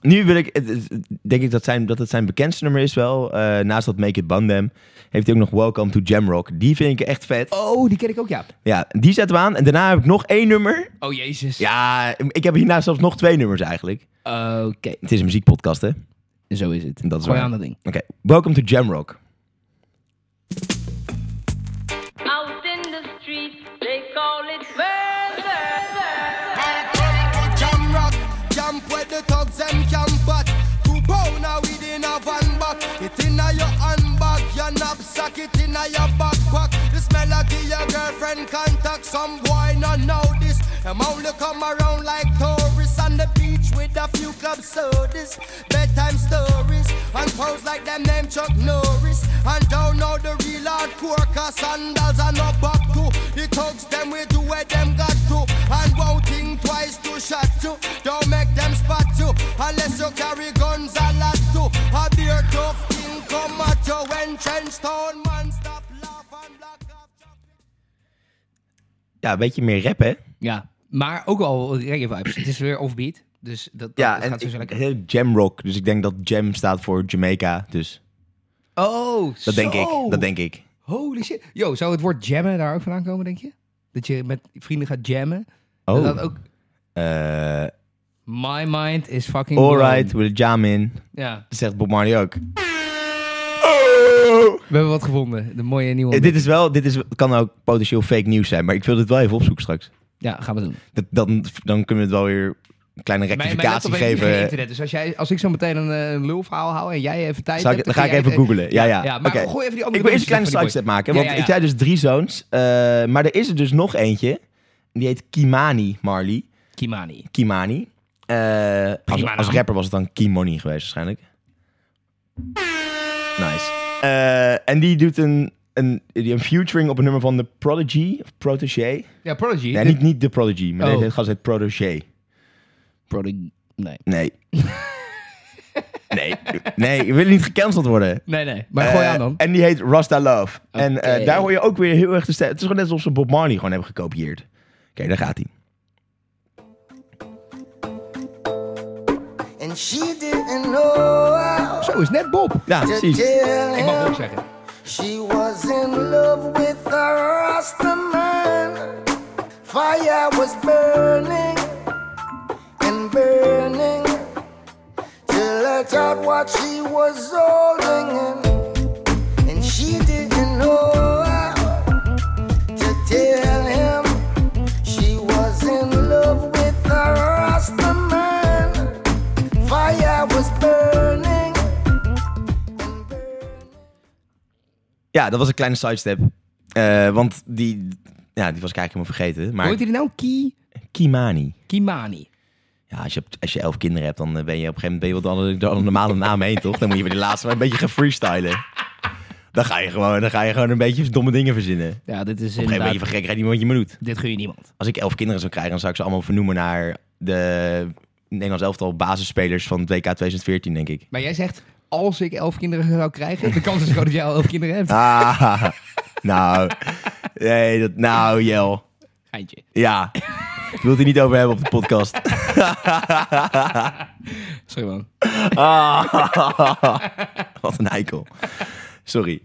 [SPEAKER 2] Ehm, nu wil ik... het- het- Denk ik dat, zijn, dat het zijn bekendste nummer is wel. Eh, naast dat Make It Bandem heeft hij ook nog Welcome to Jamrock. Die vind ik echt vet.
[SPEAKER 1] Oh, die ken ik ook, ja.
[SPEAKER 2] Ja, die zetten we aan. En daarna heb ik nog één nummer.
[SPEAKER 1] Oh, jezus.
[SPEAKER 2] Ja, ik heb hierna zelfs nog twee nummers eigenlijk.
[SPEAKER 1] Oké,
[SPEAKER 2] Het is een muziekpodcast, hè? Oké,
[SPEAKER 1] zo is het.
[SPEAKER 2] Dat is
[SPEAKER 1] Gooi
[SPEAKER 2] waar.
[SPEAKER 1] aan dat ding.
[SPEAKER 2] Welcome to Jamrock.
[SPEAKER 6] Out in the street, they call it murder.
[SPEAKER 5] Jam rock, jump with the thugs and camp at. Two pound a weed in a van back. It inna your handbag, your knapsack, it inna your backpack. This melody your girlfriend contact. Some boy not know this. Them only come around like tourists on the beach with a few club sodas, bedtime stories, and pose like them name Chuck Norris. And don't know the real hardcore, cause sandals are no back to. The thugs them we do where them got to, and won't think twice to shot you. Don't make them spot you, unless you carry guns a lot too. A beer tough thing come at you when trench town man stop laugh and block off.
[SPEAKER 2] Ja, een beetje meer rap, hè?
[SPEAKER 1] Ja, maar ook al reggae vibes. Het is weer offbeat. Dus dat, dat
[SPEAKER 2] Ja,
[SPEAKER 1] dat
[SPEAKER 2] en
[SPEAKER 1] gaat sowieso
[SPEAKER 2] ik-
[SPEAKER 1] lekker.
[SPEAKER 2] heel jam rock. Dus ik denk dat jam staat voor Jamaica. Dus
[SPEAKER 1] Oh,
[SPEAKER 2] dat denk
[SPEAKER 1] zo.
[SPEAKER 2] ik. Dat denk ik.
[SPEAKER 1] Holy shit. Yo, zou het woord jammen daar ook vandaan komen, denk je? Dat je met vrienden gaat jammen?
[SPEAKER 2] Oh.
[SPEAKER 1] Dat dat ook...
[SPEAKER 2] Eh,
[SPEAKER 1] My mind is fucking
[SPEAKER 2] alright,
[SPEAKER 1] blown.
[SPEAKER 2] with a jam in.
[SPEAKER 1] Ja,
[SPEAKER 2] Dat zegt Bob Marley ook. Oh!
[SPEAKER 1] we hebben wat gevonden. De mooie nieuwe...
[SPEAKER 2] Eh, Dit is wel, dit is, kan ook potentieel fake nieuws zijn, maar ik wil dit wel even opzoeken straks.
[SPEAKER 1] Ja, gaan we doen.
[SPEAKER 2] Dat, dan, dan kunnen we het wel weer een kleine
[SPEAKER 1] Mijn,
[SPEAKER 2] rectificatie
[SPEAKER 1] mijn laptop heeft
[SPEAKER 2] geven. eh.
[SPEAKER 1] geen internet. Dus als, jij, als ik zo meteen een, eh, een lulverhaal hou en jij even tijd
[SPEAKER 2] Zal ik-
[SPEAKER 1] hebt...
[SPEAKER 2] dan ga ik
[SPEAKER 1] kun jij
[SPEAKER 2] even
[SPEAKER 1] het-
[SPEAKER 2] googlen. Ja, ja.
[SPEAKER 1] eh, maar
[SPEAKER 2] Oké.
[SPEAKER 1] gooi even die andere
[SPEAKER 2] Ik wil eerst een
[SPEAKER 1] dingetjes
[SPEAKER 2] kleine
[SPEAKER 1] van die
[SPEAKER 2] sidestep maken,
[SPEAKER 1] Ja,
[SPEAKER 2] want
[SPEAKER 1] ja,
[SPEAKER 2] ik
[SPEAKER 1] ja.
[SPEAKER 2] zei dus drie zoons. eh, maar er is er dus nog eentje. Die heet Kimani Marley.
[SPEAKER 1] boy. Kimani.
[SPEAKER 2] Kimani. Eh, als,
[SPEAKER 1] naam.
[SPEAKER 2] als rapper was het dan Kimoni geweest waarschijnlijk. Nice. Eh, en die doet een, een, die een featuring op een nummer van The Prodigy. Of Protégé.
[SPEAKER 1] Ja, Prodigy.
[SPEAKER 2] Ja,
[SPEAKER 1] De-
[SPEAKER 2] niet, niet The Prodigy, maar
[SPEAKER 1] Oh.
[SPEAKER 2] deze gast heet Protégé.
[SPEAKER 1] Prodigy. Nee.
[SPEAKER 2] Nee. *laughs* nee. Nee, we willen niet gecanceld worden.
[SPEAKER 1] Nee, nee. Maar gooi
[SPEAKER 2] Eh,
[SPEAKER 1] aan dan.
[SPEAKER 2] En die heet Rasta Love. En eh,
[SPEAKER 1] Oké.
[SPEAKER 2] daar hoor je ook weer heel erg de stem. Het is gewoon net alsof ze Bob Marley gewoon hebben gekopieerd. Oké, daar gaat hij.
[SPEAKER 7] And she didn't know
[SPEAKER 1] Zo, is net Bob.
[SPEAKER 2] Ja,
[SPEAKER 7] to
[SPEAKER 2] precies.
[SPEAKER 7] tell
[SPEAKER 1] Ik mag Bob
[SPEAKER 7] him
[SPEAKER 1] zeggen.
[SPEAKER 7] she was in love with the Rasta man. Fire was burning and burning till I out what she was holding in. And she didn't know how to tell him she was in love with the Rasta man. Fire was burning. and burning.
[SPEAKER 2] Ja, dat was een kleine sidestep. Eh, want die, ja, die was ik eigenlijk helemaal vergeten.
[SPEAKER 1] Hoe
[SPEAKER 2] Maar
[SPEAKER 1] heet hij nou? Ki...
[SPEAKER 2] Kimani.
[SPEAKER 1] Kimani.
[SPEAKER 2] Ja, als je, als je elf kinderen hebt, dan eh, ben je op een gegeven moment ben je wel door alle- door alle normale naam heen, toch? Dan moet je bij de laatste maar een beetje gaan freestylen. Dan ga je gewoon, dan ga je gewoon een beetje domme dingen verzinnen. Op
[SPEAKER 1] Ja, dit is
[SPEAKER 2] een gegeven moment
[SPEAKER 1] inderdaad...
[SPEAKER 2] ben je van gekheid niet meer wat je me doet.
[SPEAKER 1] Dit gun je niemand.
[SPEAKER 2] Als ik elf kinderen zou krijgen, dan zou ik ze allemaal vernoemen naar de Nederlands elftal basisspelers van het WK 2014, denk ik.
[SPEAKER 1] Maar jij zegt, als ik elf kinderen zou krijgen... De kans is groot dat jij al elf kinderen hebt.
[SPEAKER 2] Ah, nou. *laughs* Nee, dat, nou, Jel.
[SPEAKER 1] Geintje.
[SPEAKER 2] Ja. Ik wil het er niet over hebben op de podcast.
[SPEAKER 1] Sorry man.
[SPEAKER 2] *laughs* Wat een eikel. Sorry.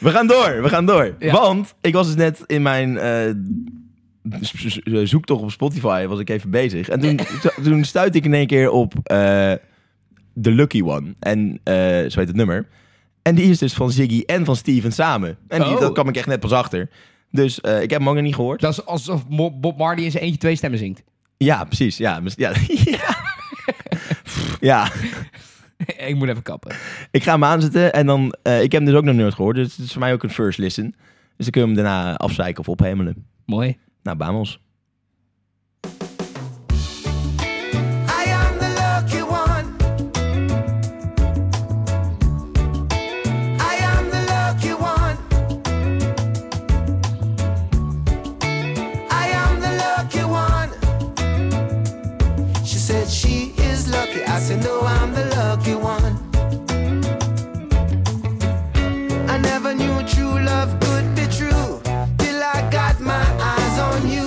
[SPEAKER 2] We gaan door, we gaan door.
[SPEAKER 1] Ja.
[SPEAKER 2] Want ik was dus net in mijn eh, s- s- zoektocht op Spotify, was ik even bezig. En toen, to- toen stuitte ik in één keer op eh The Lucky One. En eh, zo heet het nummer. En die is dus van Ziggy en van Steven samen. En die,
[SPEAKER 1] Oh.
[SPEAKER 2] dat kwam ik echt net pas achter. Dus eh, ik heb hem ook nog niet gehoord.
[SPEAKER 1] Dat is alsof Mo- Bob Marley in zijn eentje twee stemmen zingt.
[SPEAKER 2] Ja, precies. Ja, mis- ja. *laughs* ja. ja.
[SPEAKER 1] *laughs* ik moet even kappen.
[SPEAKER 2] ik ga hem aanzetten en dan... eh, ik heb hem dus ook nog nooit gehoord, dus het is voor mij ook een first listen. Dus dan kunnen we hem daarna afzeiken of ophemelen.
[SPEAKER 1] Mooi.
[SPEAKER 2] Nou, Bamos.
[SPEAKER 7] I am the lucky one. I am the lucky one. I am the lucky one. She said she is lucky. I said, No, I'm the lucky one. I never knew true love could be true till I got my eyes on you.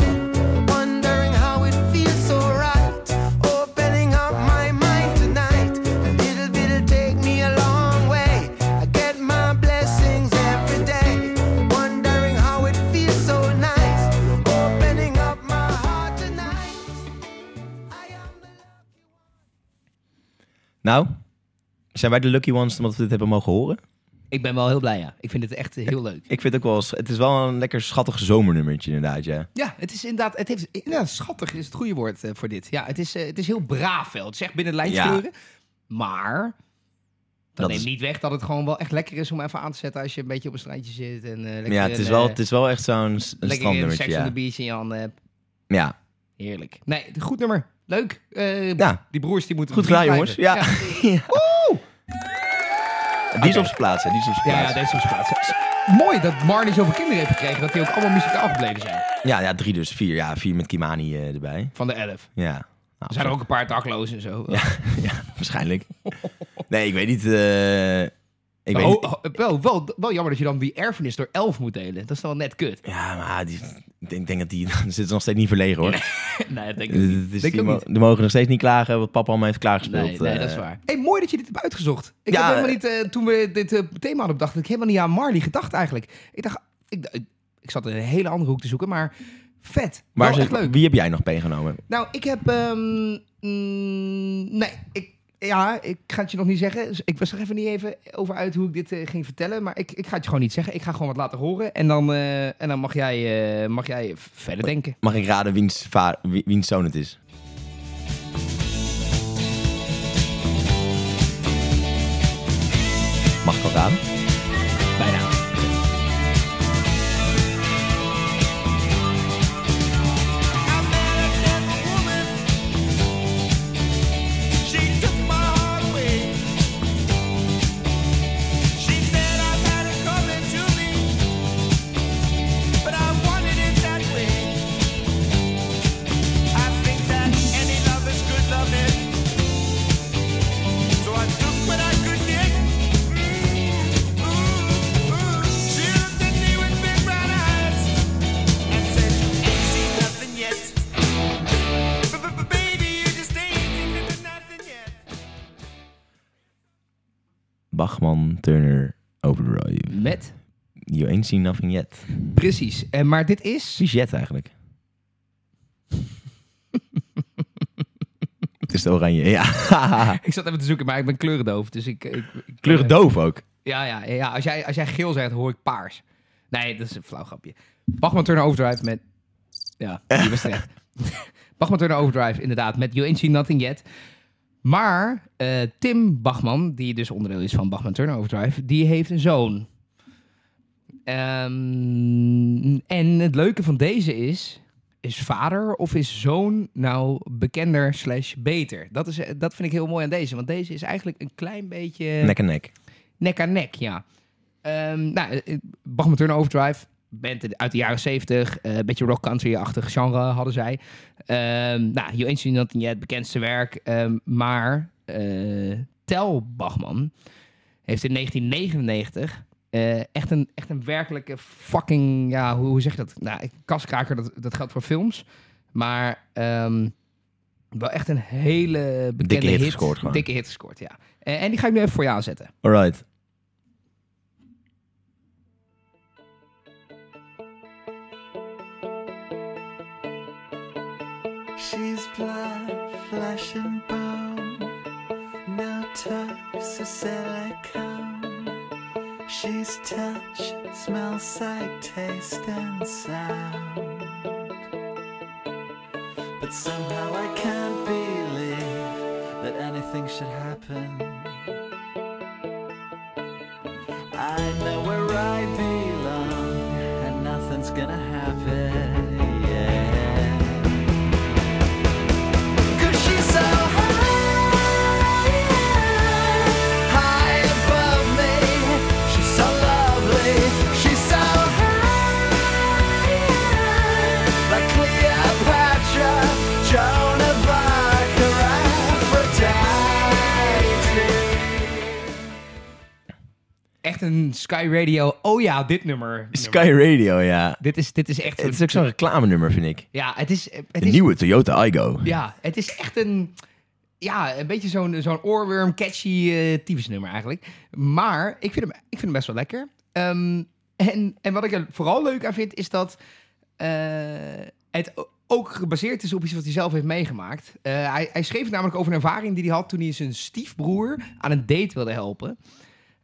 [SPEAKER 7] Wondering how it feels so right. Opening up my mind tonight. A little bit'll take me a long way. I get my blessings every day. Wondering how it feels so nice. Opening up my heart tonight. I am the
[SPEAKER 2] Nou, zijn wij de lucky ones omdat we dit hebben mogen horen?
[SPEAKER 1] Ik ben wel heel blij, ja. Ik vind het echt eh, heel leuk.
[SPEAKER 2] Ik vind het ook wel... eens- Het is wel een lekker schattig zomernummertje inderdaad, ja.
[SPEAKER 1] Ja, het is inderdaad... Het heeft, inderdaad schattig is het goede woord eh, voor dit. Ja, het is, eh, het is heel braaf wel. Het zegt binnen de
[SPEAKER 2] Ja.
[SPEAKER 1] lijnkleuren. Maar... Dat,
[SPEAKER 2] Dat
[SPEAKER 1] neemt
[SPEAKER 2] is-
[SPEAKER 1] niet weg dat het gewoon wel echt lekker is om even aan te zetten... als je een beetje op een strandje zit. En, eh, lekker
[SPEAKER 2] Ja, het
[SPEAKER 1] een,
[SPEAKER 2] is wel,
[SPEAKER 1] eh,
[SPEAKER 2] het is wel echt zo'n s- een
[SPEAKER 1] lekker een
[SPEAKER 2] strandnummertje,
[SPEAKER 1] seks on the
[SPEAKER 2] ja.
[SPEAKER 1] beach in je handen hebt.
[SPEAKER 2] Ja,
[SPEAKER 1] Heerlijk. Nee, goed nummer. Leuk. Eh,
[SPEAKER 2] Ja.
[SPEAKER 1] Die broers die moeten
[SPEAKER 2] goed
[SPEAKER 1] vriend
[SPEAKER 2] gedaan jongens.
[SPEAKER 1] blijven.
[SPEAKER 2] *laughs* Ja. Die is op zijn plaats, hè. Die is op zijn
[SPEAKER 1] Ja, ja,
[SPEAKER 2] plaats.
[SPEAKER 1] deze is plaats. Mooi dat Marnie zoveel kinderen heeft gekregen... dat die ook allemaal muzikaal gebleven zijn.
[SPEAKER 2] Ja, ja, drie dus. Vier, ja. Vier met Kimani eh, erbij.
[SPEAKER 1] Van de elf.
[SPEAKER 2] Ja. Nou,
[SPEAKER 1] Er zijn er ook een
[SPEAKER 2] *laughs*
[SPEAKER 1] paar daklozen en zo. *laughs*
[SPEAKER 2] Ja, waarschijnlijk. Nee, ik weet niet. eh, Ik
[SPEAKER 1] Maar
[SPEAKER 2] weet
[SPEAKER 1] oh, oh, wel, wel, wel jammer dat je dan die erfenis door 11 moet delen. Dat is dan wel net
[SPEAKER 2] *laughs*
[SPEAKER 1] kut.
[SPEAKER 2] Ja, maar die, ik denk, denk dat die *laughs* zitten nog steeds niet verlegen *laughs* hoor.
[SPEAKER 1] nee, dat denk ik
[SPEAKER 2] Het
[SPEAKER 1] niet.
[SPEAKER 2] is-
[SPEAKER 1] Denk ik
[SPEAKER 2] die
[SPEAKER 1] ook
[SPEAKER 2] mo-
[SPEAKER 1] niet.
[SPEAKER 2] die mogen nog steeds niet klagen wat papa allemaal heeft klaargespeeld.
[SPEAKER 1] Nee, nee, dat is
[SPEAKER 2] eh.
[SPEAKER 1] waar. Hey, mooi dat je dit hebt uitgezocht. Ik
[SPEAKER 2] Ja,
[SPEAKER 1] heb helemaal niet, eh, toen we dit eh, thema hadden bedacht, had ik helemaal niet aan Marley gedacht eigenlijk. Ik dacht, ik, ik, ik zat in een hele andere hoek te zoeken, maar vet.
[SPEAKER 2] Maar
[SPEAKER 1] Wel
[SPEAKER 2] zeg,
[SPEAKER 1] echt leuk.
[SPEAKER 2] wie heb jij nog meegenomen?
[SPEAKER 1] Nou, ik heb, ehm, mm, nee, ik, ja, ik ga het je nog niet zeggen. Dus Ik was er even niet even over uit hoe ik dit eh, ging vertellen, maar ik, ik ga het je gewoon niet zeggen. Ik ga gewoon wat laten horen en dan, eh, en dan mag, jij, eh, mag jij verder denken.
[SPEAKER 2] Mag ik raden wiens, va- wie- wiens zoon het is? Mag ik al raden?
[SPEAKER 1] Bijna.
[SPEAKER 8] Baby, you just ain't thinking nothing yet.
[SPEAKER 2] Bachman Turner Overdrive.
[SPEAKER 1] Met?
[SPEAKER 2] You ain't seen nothing yet.
[SPEAKER 1] Precies. Eh, maar dit is...
[SPEAKER 2] Wie is Jet eigenlijk? *laughs* het is de oranje, ja.
[SPEAKER 1] Ik zat even te zoeken, maar ik ben kleurendoof. Dus ik, ik, ik-
[SPEAKER 2] Kleurig doof ook.
[SPEAKER 1] Ja, ja, ja. Als jij, als jij geel zegt, hoor ik paars. Nee, dat is een flauw grapje. Bachman Turner Overdrive met... Ja, die was terecht. *laughs* Bachman Turner Overdrive, inderdaad, met You Ain't Seen Nothing Yet. Maar eh, Tim Bachman, die dus onderdeel is van Bachman Turner Overdrive, die heeft een zoon. Ehm, en het leuke van deze is... Is vader of is zoon nou bekender slash beter? Dat, is, eh, dat vind ik heel mooi aan deze. Want deze is eigenlijk een klein beetje
[SPEAKER 2] Nek en nek.
[SPEAKER 1] nek aan nek, ja. Ehm nou, eh, Bachman Turner Overdrive, band uit de jaren 70, eh, een beetje rock country-achtig genre hadden zij. Ehm nou, You Ain't Seen Nothing Yet, het bekendste werk. Ehm, maar eh, Tel Bachman heeft in 1999 eh, echt, een, echt een werkelijke fucking, ja, hoe, hoe zeg je dat? Nou, kaskraker, dat, dat geldt voor films. Maar ehm, wel echt een hele bekende
[SPEAKER 2] Dikke hit
[SPEAKER 1] hit.
[SPEAKER 2] gescoord gewoon.
[SPEAKER 1] Dikke hit gescoord, ja. Eh, en die ga ik nu even voor je aanzetten.
[SPEAKER 2] Alright.
[SPEAKER 7] She's blind, flash and bone. No types of silicone. She's touch, smell, sight, taste, and sound. But somehow I can't believe that anything should happen. I know where I belong, and nothing's gonna happen. Yeah. Cause she's so high, high above me. She's so lovely. She's so high, like Cleopatra, Joan of Arc, or Aphrodite.
[SPEAKER 1] echt een Sky Radio. Oh ja, dit nummer. nummer.
[SPEAKER 2] Sky Radio, ja.
[SPEAKER 1] Dit is, dit is echt.
[SPEAKER 2] Het is
[SPEAKER 1] zo'n-
[SPEAKER 2] ook zo'n reclamenummer, vind ik.
[SPEAKER 1] Ja, het is. Het
[SPEAKER 2] De
[SPEAKER 1] is
[SPEAKER 2] nieuwe Toyota Igo.
[SPEAKER 1] Ja, het is echt een. Ja, een beetje zo'n zo'n oorworm, catchy eh tyfusnummer eigenlijk. Maar ik vind hem, ik vind hem best wel lekker. Ehm, en, en wat ik er vooral leuk aan vind, is dat eh, het o- ook gebaseerd is op iets wat hij zelf heeft meegemaakt. Eh, hij, hij schreef namelijk over een ervaring die hij had toen hij zijn stiefbroer aan een date wilde helpen.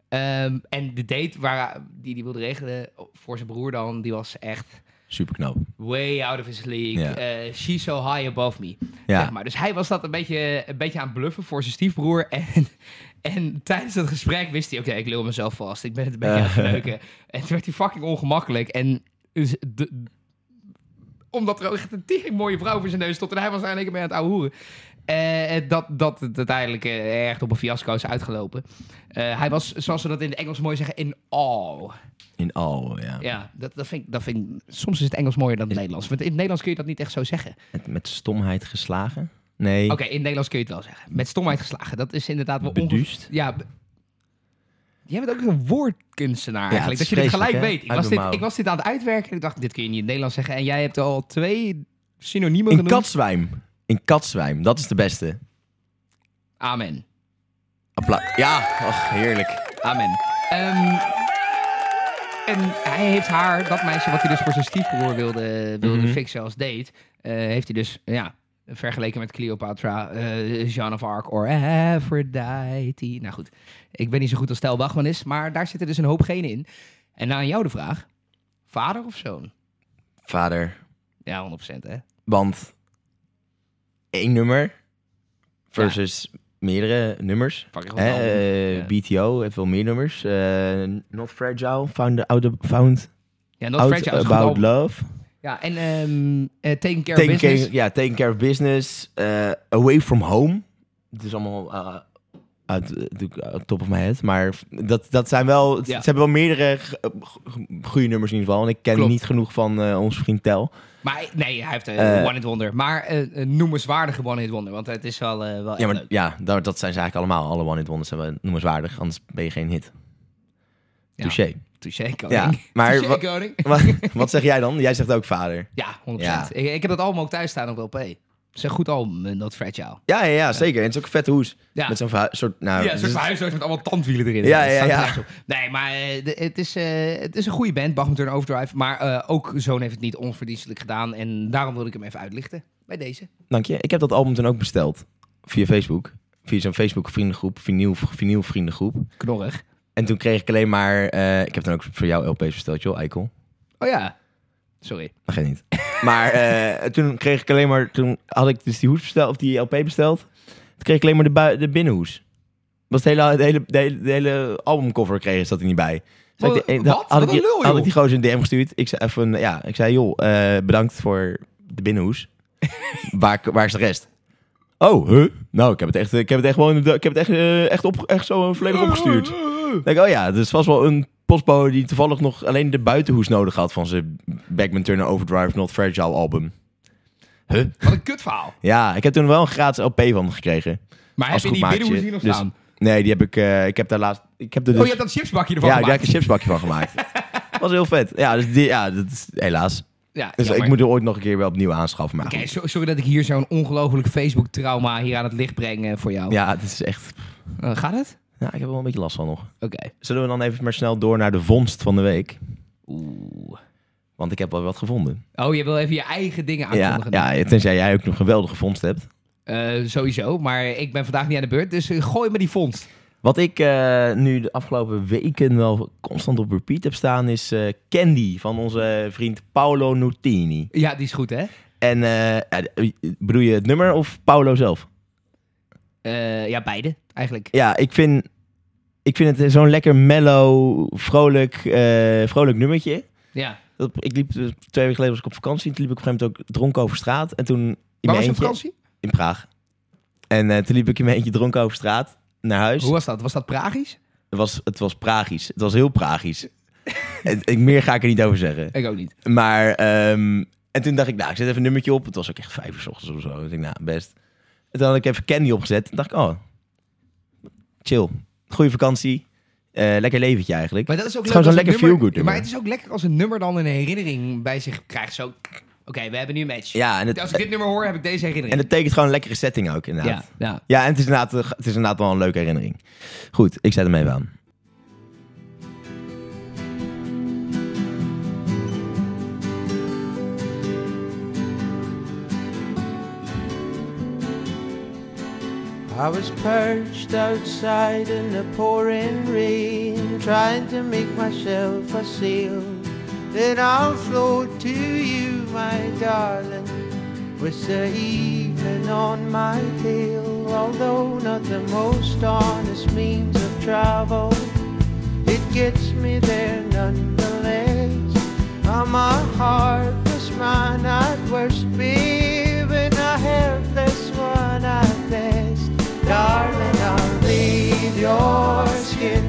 [SPEAKER 1] Ehm, en de date waar, die hij wilde regelen voor zijn broer dan, die was echt
[SPEAKER 2] Super knap.
[SPEAKER 1] way out of his league.
[SPEAKER 2] Ja.
[SPEAKER 1] Eh, she's so high above me.
[SPEAKER 2] Ja.
[SPEAKER 1] Zeg maar. Dus hij was dat een beetje, een beetje aan het bluffen voor zijn stiefbroer. *laughs* En, en tijdens dat gesprek wist hij, oké, ik lul mezelf vast. Ik ben het een beetje aan het
[SPEAKER 2] Eh.
[SPEAKER 1] verneuken. *laughs* En toen werd hij fucking ongemakkelijk. En dus de- omdat er ook echt een tering mooie vrouw voor zijn neus stond. En hij was eigenlijk mee aan het ouwehoeren. Eh, dat, dat het uiteindelijk eh, echt op een fiasco is uitgelopen. Eh, hij was, zoals ze dat in het Engels mooi zeggen, in awe.
[SPEAKER 2] In al, ja.
[SPEAKER 1] Ja, dat, dat, vind ik, dat vind ik- Soms is het Engels mooier dan het Nederlands. Want in het Nederlands kun je dat niet echt zo zeggen. Oké,
[SPEAKER 2] Met, met stomheid geslagen? Nee.
[SPEAKER 1] in het Nederlands kun je het wel zeggen. Met stomheid geslagen. Dat is inderdaad wel
[SPEAKER 2] Beduust?
[SPEAKER 1] Ja, be- Jij bent ook een woordkunstenaar eigenlijk.
[SPEAKER 2] het
[SPEAKER 1] Dat
[SPEAKER 2] is
[SPEAKER 1] je dit gelijk
[SPEAKER 2] vreselijk, hè?
[SPEAKER 1] weet. Ik
[SPEAKER 2] Uit
[SPEAKER 1] was,
[SPEAKER 2] mijn
[SPEAKER 1] dit,
[SPEAKER 2] mouw.
[SPEAKER 1] ik was dit aan het uitwerken en ik dacht, dit kun je niet in het Nederlands zeggen. En jij hebt al twee synoniemen
[SPEAKER 2] In
[SPEAKER 1] genoemd.
[SPEAKER 2] katzwijm. In katzwijm. Dat is de beste.
[SPEAKER 1] Amen.
[SPEAKER 2] Applaus. Ja, ach, heerlijk.
[SPEAKER 1] Amen. Ehm, en hij heeft haar, dat meisje wat hij dus voor zijn stiefbroer wilde, wilde
[SPEAKER 2] Mhm.
[SPEAKER 1] fixen als date, eh, heeft hij dus, ja, vergeleken met Cleopatra, eh Jeanne of Arc or Aphrodite. Nou goed, ik ben niet zo goed als Stel Bachman is, maar daar zitten dus een hoop genen in. En nou aan jou de vraag, vader of zoon?
[SPEAKER 2] Vader,
[SPEAKER 1] Ja, 100% hè.
[SPEAKER 2] want één nummer versus meerdere nummers.
[SPEAKER 1] Pak je gewoon
[SPEAKER 2] Hè,
[SPEAKER 1] een album.
[SPEAKER 2] eh,
[SPEAKER 1] Ja.
[SPEAKER 2] BTO heeft wel meer nummers. Eh, Not Fragile, Found, out, found
[SPEAKER 1] Ja, Not
[SPEAKER 2] out
[SPEAKER 1] Fragile is een goed
[SPEAKER 2] About
[SPEAKER 1] album.
[SPEAKER 2] Love.
[SPEAKER 1] Ja, en ehm eh Taking Care
[SPEAKER 2] Taking
[SPEAKER 1] of Business.
[SPEAKER 2] care, ja, taking care of Business. eh, away From Home. Het is allemaal eh, uit, eh, natuurlijk uit top of my head. Maar dat, dat zijn wel, het-
[SPEAKER 1] Ja.
[SPEAKER 2] ze hebben wel meerdere g- g- goede nummers in ieder geval. En ik ken
[SPEAKER 1] Klopt.
[SPEAKER 2] niet genoeg van eh onze vriend Tel.
[SPEAKER 1] Maar nee, hij heeft een
[SPEAKER 2] Eh,
[SPEAKER 1] One Hit Wonder. Maar eh, een noemenswaardige One Hit Wonder. Want het is wel, eh, wel echt
[SPEAKER 2] Ja, maar
[SPEAKER 1] leuk.
[SPEAKER 2] ja, dat, dat zijn ze eigenlijk allemaal. Alle one-hit wonders zijn wel noemenswaardig. Anders ben je geen hit.
[SPEAKER 1] Ja.
[SPEAKER 2] Touché.
[SPEAKER 1] Touché koning.
[SPEAKER 2] Ja, *laughs* maar
[SPEAKER 1] Touché
[SPEAKER 2] wa-
[SPEAKER 1] koning.
[SPEAKER 2] Wat, wat zeg jij dan? Jij zegt ook vader.
[SPEAKER 1] Ja, 100%.
[SPEAKER 2] Ja.
[SPEAKER 1] Ik, ik heb dat album ook thuis staan op LP. Het is een goed album, eh, dat Fragile.
[SPEAKER 2] Ja, ja, ja zeker. En het is ook een vette hoes.
[SPEAKER 1] Ja.
[SPEAKER 2] Met zo'n verhu- soort...
[SPEAKER 1] Ja,
[SPEAKER 2] Nou, het
[SPEAKER 1] een
[SPEAKER 2] is-
[SPEAKER 1] soort verhuisdoos met allemaal tandwielen erin.
[SPEAKER 2] Ja,
[SPEAKER 1] Dat staat
[SPEAKER 2] ja, ja.
[SPEAKER 1] nergens op. Nee, maar eh, de- het, is, eh, het is een goede band, Bachman Turner Overdrive. Maar eh, ook Zoon heeft het niet onverdienstelijk gedaan. En daarom wil ik hem even uitlichten bij deze.
[SPEAKER 2] Dank je. Ik heb dat album toen ook besteld. Via Facebook. Via zo'n Facebook vriendengroep. Vinyl, vinyl vriendengroep.
[SPEAKER 1] Knorrig.
[SPEAKER 2] En toen kreeg ik alleen maar... eh, ik heb dan ook voor jou LP's besteld, joh, eikel.
[SPEAKER 1] Oh ja, sorry.
[SPEAKER 2] Dat gaat niet. Maar eh, toen kreeg ik alleen maar... Toen had ik dus die hoes besteld, of die LP besteld. Toen kreeg ik alleen maar de, bui- de binnenhoes. Was het hele, het hele, de hele, de hele albumcover kreeg zat er niet bij. Dus
[SPEAKER 1] Wat-
[SPEAKER 2] ik- ik-
[SPEAKER 1] wat?
[SPEAKER 2] Had,
[SPEAKER 1] Wat
[SPEAKER 2] ik,
[SPEAKER 1] een
[SPEAKER 2] die-
[SPEAKER 1] lul,
[SPEAKER 2] had
[SPEAKER 1] joh.
[SPEAKER 2] ik die gozer een DM gestuurd. Ik zei, even, ja, ik zei joh, eh, bedankt voor de
[SPEAKER 1] *laughs*
[SPEAKER 2] binnenhoes. waar, waar is de rest? Oh, huh? Nou, ik heb het echt, ik heb het echt gewoon, ik heb het echt, eh, echt, op, echt zo volledig opgestuurd. Ik denk, oh ja, dus was wel een postbode die toevallig nog alleen de buitenhoes nodig had van zijn Backman Turner Overdrive Not Fragile album. Huh?
[SPEAKER 1] Wat een kutverhaal.
[SPEAKER 2] Ja, ik heb toen wel een gratis LP van hem gekregen.
[SPEAKER 1] Maar heb
[SPEAKER 2] Als
[SPEAKER 1] je die
[SPEAKER 2] goed
[SPEAKER 1] binnenhoes
[SPEAKER 2] maatje.
[SPEAKER 1] hier nog
[SPEAKER 2] Dus-
[SPEAKER 1] staan?
[SPEAKER 2] Nee, die heb ik, eh, ik heb daar laatst, ik heb er dus,
[SPEAKER 1] Oh, je hebt dat chipsbakje ervan
[SPEAKER 2] ja, ik
[SPEAKER 1] gemaakt.
[SPEAKER 2] heb er een chipsbakje van gemaakt.
[SPEAKER 1] *laughs*
[SPEAKER 2] was heel vet. Ja, dus die, ja, dat is helaas.
[SPEAKER 1] Ja,
[SPEAKER 2] Dus
[SPEAKER 1] jammer.
[SPEAKER 2] ik moet er ooit nog een keer wel opnieuw aanschaffen. Maar
[SPEAKER 1] Oké,
[SPEAKER 2] goed.
[SPEAKER 1] so- sorry dat ik hier zo'n ongelooflijk Facebook-trauma hier aan het licht breng eh, voor jou.
[SPEAKER 2] ja, het is echt,
[SPEAKER 1] Eh, gaat het?
[SPEAKER 2] ja, ik heb er wel een beetje last van nog.
[SPEAKER 1] Oké.
[SPEAKER 2] Zullen we dan even maar snel door naar de vondst van de week?
[SPEAKER 1] Oeh.
[SPEAKER 2] Want ik heb wel wat gevonden.
[SPEAKER 1] Oh, je wil even je eigen dingen
[SPEAKER 2] Ja,
[SPEAKER 1] aankondigen.
[SPEAKER 2] ja, tenzij jij ook nog geweldige vondst hebt.
[SPEAKER 1] Eh, sowieso, maar ik ben vandaag niet aan de beurt, dus eh, gooi me die vondst.
[SPEAKER 2] Wat ik eh, nu de afgelopen weken wel constant op repeat heb staan is eh, Candy van onze vriend Paolo Nutini.
[SPEAKER 1] Ja, die is goed, hè?
[SPEAKER 2] En eh, ja, eh, bedoel je het nummer of Paolo zelf?
[SPEAKER 1] Eh, ja, beide, eigenlijk.
[SPEAKER 2] Ja, ik vind, ik vind het zo'n lekker mellow, vrolijk, eh, vrolijk nummertje.
[SPEAKER 1] Ja.
[SPEAKER 2] Dat, ik liep eh, twee weken geleden was ik op vakantie. En toen liep ik op een gegeven moment ook dronken over straat. En toen in
[SPEAKER 1] Waar
[SPEAKER 2] mijn
[SPEAKER 1] was je op
[SPEAKER 2] eentje-
[SPEAKER 1] vakantie?
[SPEAKER 2] In Praag. En eh, toen liep ik in mijn eentje dronken over straat naar huis.
[SPEAKER 1] Hoe was dat? Was dat Pragisch?
[SPEAKER 2] Het was, het was pragisch. Het was heel pragisch. Het- ik- meer ga ik er niet over zeggen.
[SPEAKER 1] Ik ook niet.
[SPEAKER 2] Maar, ehm, en toen dacht ik, nou, ik zet even een nummertje op. Het was ook echt vijf uur 's ochtends of zo. Ik dacht, nou, best. En toen had ik even Candy opgezet. En dacht ik, oh, chill. Goeie vakantie. Eh, lekker leventje eigenlijk.
[SPEAKER 1] Maar dat is ook
[SPEAKER 2] Het is gewoon
[SPEAKER 1] leuk
[SPEAKER 2] zo'n
[SPEAKER 1] als een
[SPEAKER 2] lekker
[SPEAKER 1] nummer-
[SPEAKER 2] feel-good nummer.
[SPEAKER 1] Maar het is ook lekker als een nummer dan een herinnering bij zich krijgt. Zo, oké, we hebben nu een match.
[SPEAKER 2] Ja, en het,
[SPEAKER 1] Als ik dit nummer hoor, heb ik deze herinnering.
[SPEAKER 2] en het tekent gewoon een lekkere setting ook, inderdaad.
[SPEAKER 1] ja,
[SPEAKER 2] Ja,
[SPEAKER 1] ja.
[SPEAKER 2] en het is, inderdaad, het is inderdaad wel een leuke herinnering. Goed, ik zet hem even aan.
[SPEAKER 7] I was perched outside in the pouring rain, trying to make myself a sail. Then I'll float to you, my darling, with the evening on my tail. Although not the most honest means of travel, it gets me there nonetheless. Oh, I'm a heartless man at worst, babe, and a helpless one at best. Darling, I'll leave your skin,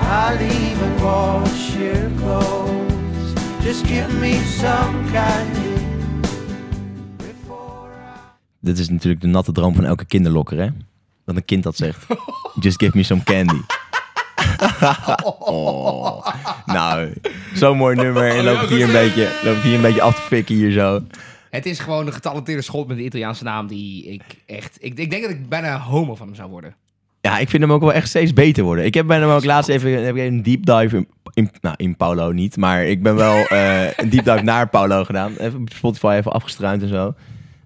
[SPEAKER 7] I'll even wash your clothes. Just give me some candy before I.
[SPEAKER 2] Dit is natuurlijk de natte droom van elke kinderlokker, hè? Dat een kind dat zegt. Just give me some candy. Nou, zo'n mooi nummer. En loop ik hier een beetje, loop ik hier een beetje af te fikken hier zo.
[SPEAKER 1] Het is gewoon een getalenteerde schot met een Italiaanse naam die ik echt... Ik, ik denk dat ik bijna homo van hem zou worden.
[SPEAKER 2] Ja, ik vind hem ook wel echt steeds beter worden. Ik heb bij hem ook laatst even, heb ik even een deep dive in, in- nou, in Paulo niet, maar ik ben wel eh, een deep dive naar Paulo gedaan. Even op Spotify even afgestruind en zo.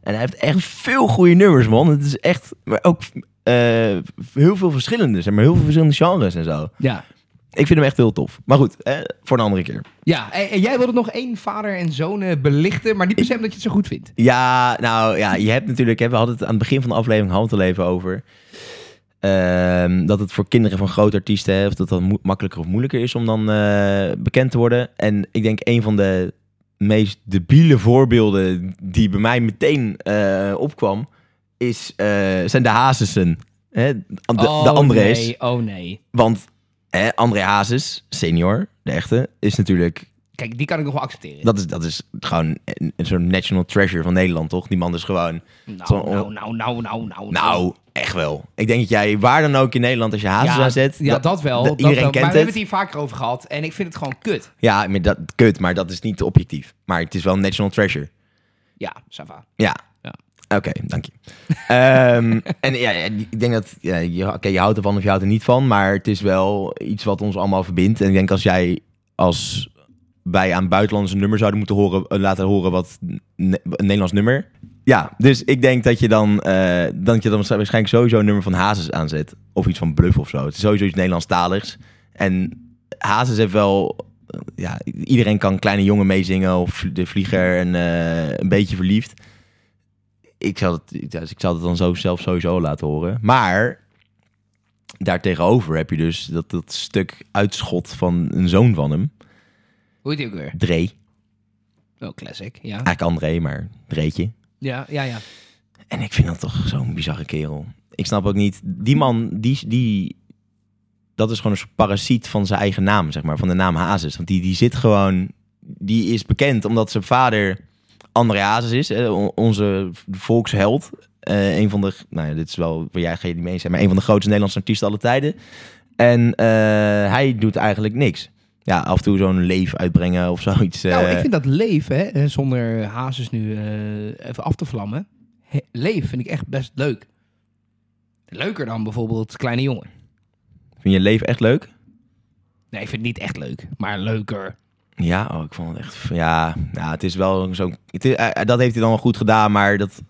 [SPEAKER 2] En hij heeft echt veel goede nummers, man. Het is echt, maar ook eh, heel veel verschillende, zeg maar heel veel verschillende genres en zo.
[SPEAKER 1] Ja.
[SPEAKER 2] Ik vind hem echt heel tof. Maar goed, eh, voor een andere keer.
[SPEAKER 1] Ja, en, en jij wilde nog één vader en zoon eh, belichten, maar niet per se omdat je het zo goed vindt.
[SPEAKER 2] Ja, nou ja, je hebt natuurlijk, hè, we hadden het aan het begin van de aflevering hadden we het al even over. ehm, dat het voor kinderen van grote artiesten, hè, of dat dan mo- makkelijker of moeilijker is om dan eh, bekend te worden. En ik denk een van de meest debiele voorbeelden die bij mij meteen eh, opkwam, is, eh, zijn de Hazesen. Hè? De, de André's.
[SPEAKER 1] Nee, oh nee.
[SPEAKER 2] Want hè, André Hazes, senior, de echte, is natuurlijk
[SPEAKER 1] Kijk, die kan ik nog wel accepteren.
[SPEAKER 2] dat is, dat is gewoon een, een soort national treasure van Nederland, toch? Die man is gewoon...
[SPEAKER 1] nou, nou,
[SPEAKER 2] zo'n-
[SPEAKER 1] nou, nou, nou, nou.
[SPEAKER 2] Nou, echt wel. Ik denk dat jij waar dan ook in Nederland als je hazes
[SPEAKER 1] ja,
[SPEAKER 2] aanzet...
[SPEAKER 1] ja, dat, wel.
[SPEAKER 2] dat-
[SPEAKER 1] dat
[SPEAKER 2] iedereen
[SPEAKER 1] wel.
[SPEAKER 2] kent
[SPEAKER 1] maar we
[SPEAKER 2] het.
[SPEAKER 1] hebben het hier vaker over gehad en ik vind het gewoon kut.
[SPEAKER 2] Ja, maar dat, kut, maar dat is niet objectief. Maar het is wel een national treasure.
[SPEAKER 1] Ja, Sava.
[SPEAKER 2] Ja.
[SPEAKER 1] Ja.
[SPEAKER 2] Oké, dank je. Ehm, en ja, ja, ik denk dat ja, je, oké, je houdt ervan of je houdt er niet van, maar het is wel iets wat ons allemaal verbindt. En ik denk als jij als wij aan buitenlandse nummer zouden moeten horen, eh, laten horen wat ne- een Nederlands nummer. Ja, dus ik denk dat je dan, eh dat je dan waarschijnlijk sowieso een nummer van Hazes aanzet. Of iets van Bluff of zo. Het is sowieso iets Nederlandstaligs. En Hazes heeft wel... eh, Ja, iedereen kan Kleine Jongen meezingen of De Vlieger en eh, Een Beetje Verliefd ik zou het, dus ik zou het dan zo zelf sowieso laten horen. Maar daartegenover heb je dus dat, dat stuk uitschot van een zoon van hem,
[SPEAKER 1] Hoe heet die ook weer?
[SPEAKER 2] Dre.
[SPEAKER 1] Oh, classic. Ja,
[SPEAKER 2] Eigenlijk André, maar Dreetje.
[SPEAKER 1] ja, ja. ja.
[SPEAKER 2] En ik vind dat toch zo'n bizarre kerel. Ik snap ook niet, die man, die, die, dat is gewoon een soort parasiet van zijn eigen naam, zeg maar, van de naam Hazes. Want die, die zit gewoon, die is bekend omdat zijn vader André Hazes is, hè, on- onze volksheld. Eh, een van de, nou ja, dit is wel, jij gaat je niet mee zijn, maar een van de grootste Nederlandse artiesten alle tijden. En eh, hij doet eigenlijk niks. Ja, af en toe zo'n leef uitbrengen of zoiets.
[SPEAKER 1] Nou,
[SPEAKER 2] eh,
[SPEAKER 1] ik vind dat leven, hè, eh, zonder Hazes nu eh, even af te vlammen. He, leven vind ik echt best leuk. Leuker dan bijvoorbeeld Kleine Jongen.
[SPEAKER 2] vind je leef echt leuk?
[SPEAKER 1] Nee, ik vind het niet echt leuk, maar leuker.
[SPEAKER 2] Ja, oh, ik vond het echt. Ja, ja het is wel zo. Het is, eh, eh, dat heeft hij dan wel goed gedaan, maar dat.